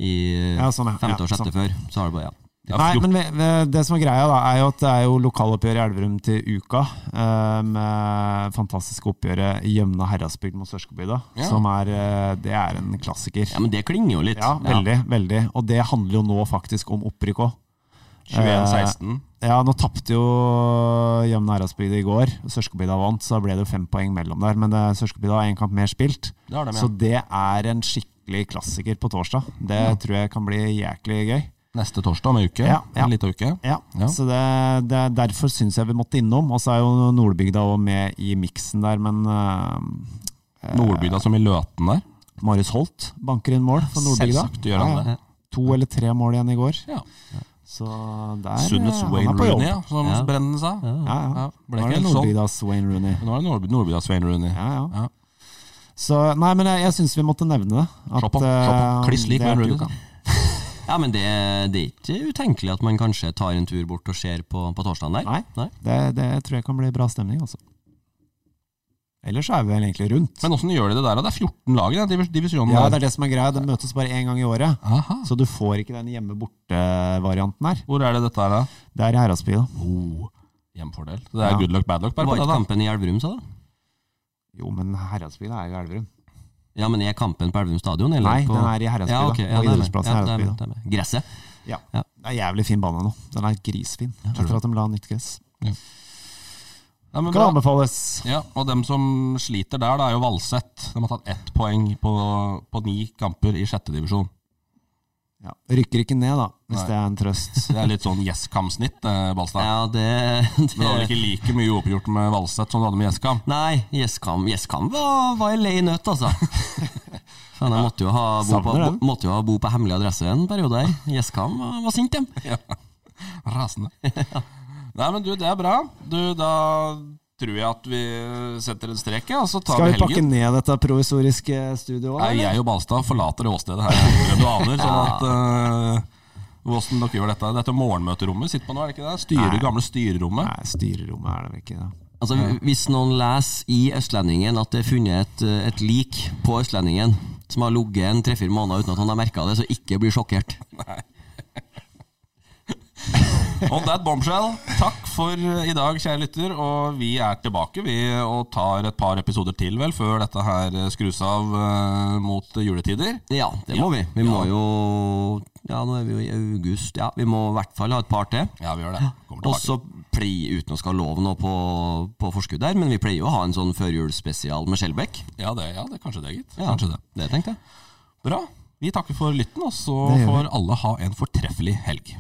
Speaker 2: i eh,
Speaker 4: Ja, sånn, ja.
Speaker 2: femte og
Speaker 4: Ja,
Speaker 2: sjette
Speaker 4: sånn.
Speaker 2: før. Så har det bare, ja.
Speaker 3: Ja,
Speaker 4: Nei,
Speaker 3: fjort-
Speaker 4: men vi- vi- det som er greia, da, er jo at det er jo lokaloppgjør i Elverum til uka. eh, Med fantastiske oppgjøret Gjømna Herradsbygd mot Sørskobygda.
Speaker 3: Ja.
Speaker 4: Som er eh, Det er en klassiker.
Speaker 2: ja, men det klinger jo litt.
Speaker 4: Ja, veldig. veldig. Og det handler jo nå faktisk om opprykk òg.
Speaker 3: 21-16.
Speaker 4: Ja, nå tapte jo Gjømna Herradsbygd i går. Sørskobygda vant, så da ble det jo fem poeng mellom der. Men det- Sørskobygda har én kamp mer spilt.
Speaker 3: Det har de, ja.
Speaker 4: Så det er en skikkelig klassiker på torsdag. Det tror jeg kan bli jæklig gøy.
Speaker 3: Neste torsdag om ei uke.
Speaker 4: Ja, ja.
Speaker 3: En lita uke.
Speaker 4: Ja,
Speaker 3: Ja.
Speaker 4: så det, det, derfor syns jeg vi måtte innom. Og så er jo Nordbygda òg med i miksen der, men eh, eh,
Speaker 3: Nordbygda som i Løten der.
Speaker 4: Marius Holt banker inn mål for Nordbygda.
Speaker 3: Selvsagt gjør han
Speaker 4: Ja, ja.
Speaker 3: det.
Speaker 4: To eller tre mål igjen i går.
Speaker 3: Ja.
Speaker 4: Så der eh,
Speaker 3: Sunnets Wayne
Speaker 4: han er på jobb.
Speaker 3: Rooney, ja, som
Speaker 2: Ja.
Speaker 3: Brennen sa. Ja.
Speaker 4: Ja, ja.
Speaker 3: Ja, ble ikke
Speaker 4: Nå er det
Speaker 3: helt sånn.
Speaker 4: Nordbygdas Wayne
Speaker 3: Nå
Speaker 4: Rooney.
Speaker 3: er det Nord- Nordbygdas Wayne Rooney.
Speaker 4: Ja, ja.
Speaker 3: Ja.
Speaker 4: Så nei, men jeg, jeg syns vi måtte nevne det. at,
Speaker 3: Se på, se på.
Speaker 4: eh,
Speaker 3: Kliss lik
Speaker 4: det er
Speaker 3: Wayne
Speaker 4: uka.
Speaker 3: Rooney.
Speaker 2: Ja, men det, det er ikke utenkelig at man kanskje tar en tur bort og ser på, på torsdagen der.
Speaker 4: Nei. Det, det tror jeg kan bli bra stemning, altså. Ellers er vi vel egentlig rundt.
Speaker 3: Men åssen gjør de det der? da? Det er 14 lag i den divis- divisjonen.
Speaker 4: Ja,
Speaker 3: der.
Speaker 4: det er det som er greia. Den møtes bare én gang i året.
Speaker 3: Aha.
Speaker 4: Så du får ikke den hjemme-borte-varianten her.
Speaker 3: Hvor er det dette her, da?
Speaker 4: Det er i Heradsby, da.
Speaker 3: Oh, hjemfordel. Så det er
Speaker 4: Ja.
Speaker 3: good luck, bad luck.
Speaker 2: Det
Speaker 3: Bare på
Speaker 2: var
Speaker 3: det,
Speaker 2: ikke
Speaker 3: da.
Speaker 2: kampen i Elverum, sa du?
Speaker 4: Jo, men Heradsby det er jo Elverum.
Speaker 2: Ja, men er kampen på Elverum stadion? Eller
Speaker 4: Nei,
Speaker 2: på...
Speaker 4: den er i Heradsby,
Speaker 2: ja,
Speaker 4: da.
Speaker 2: ok,
Speaker 4: På
Speaker 2: ja, det er med.
Speaker 4: idrettsplassen i
Speaker 2: ja, det er
Speaker 4: Heradsby,
Speaker 2: med,
Speaker 4: da.
Speaker 2: det er med. Gresset?
Speaker 4: Ja.
Speaker 2: Ja.
Speaker 4: Det er jævlig fin bane nå. Den er grisfin. Etter at de la nytt gress.
Speaker 3: Ja, men
Speaker 4: Kan
Speaker 3: bra.
Speaker 4: anbefales.
Speaker 3: Ja, og dem som sliter der, da er jo Valset. De har tatt ett poeng på, på ni kamper i sjette divisjon.
Speaker 4: Ja. Rykker ikke ned, da, hvis
Speaker 3: Nei.
Speaker 4: det er en trøst.
Speaker 3: Det er litt sånn Yes-Kam-snitt, eh, Balstad.
Speaker 2: Ja, det,
Speaker 3: Men Du hadde
Speaker 2: det
Speaker 3: ikke like mye oppgjort med Valset som du hadde med Yes-Kam.
Speaker 2: Nei, Gjesskam Gjesskam var, var en lei nøtt, altså. Faen, jeg måtte jo ha bo på,
Speaker 4: Savner den.
Speaker 2: måtte jo ha bo på hemmelig adresse en periode her. Gjesskam var, var sint, dem.
Speaker 3: Rasende. Nei, men du, det er bra. Du, da tror jeg at vi setter en strek, ja, og så tar
Speaker 4: Skal
Speaker 3: vi
Speaker 4: vi pakke
Speaker 3: helgen.
Speaker 4: ned dette provisoriske studioet?
Speaker 3: Nei, jeg og Balstad forlater åstedet her. enn Du aner, sånn at eh, Hvordan dere gjør dette Dette morgenmøterommet sitter på nå, er det ikke det? Styre,
Speaker 4: Nei.
Speaker 3: gamle styrerommet.
Speaker 4: Nei, styrerommet er det vel ikke. Da.
Speaker 2: Altså, hvis noen leser i Østlendingen at det er funnet et, eh, et lik på Østlendingen som har ligget en tre-fire måneder uten at han har merka det, så ikke bli sjokkert.
Speaker 3: On that bombshell, takk for eh, i dag, kjære lytter. Og vi er tilbake, vi, og tar et par episoder til, vel, før dette her skrus av eh, mot juletider.
Speaker 2: Ja, det må vi. Vi må jo Ja, nå er vi jo i august. Ja, vi må i hvert fall ha et par til.
Speaker 3: Ja, vi gjør det. Kommer
Speaker 2: Og
Speaker 3: tilbake.
Speaker 2: så pleier, uten å skal love noe på, på forskudd der, men vi pleier jo å ha en sånn førjulsspesial med Skjelbæk.
Speaker 3: Ja, det, ja, det kanskje det, gitt.
Speaker 2: Ja,
Speaker 3: Kanskje det.
Speaker 2: Det tenkte jeg.
Speaker 3: Bra. Vi takker for lytten, og så
Speaker 4: Det gjør vi.
Speaker 3: får alle ha en fortreffelig helg.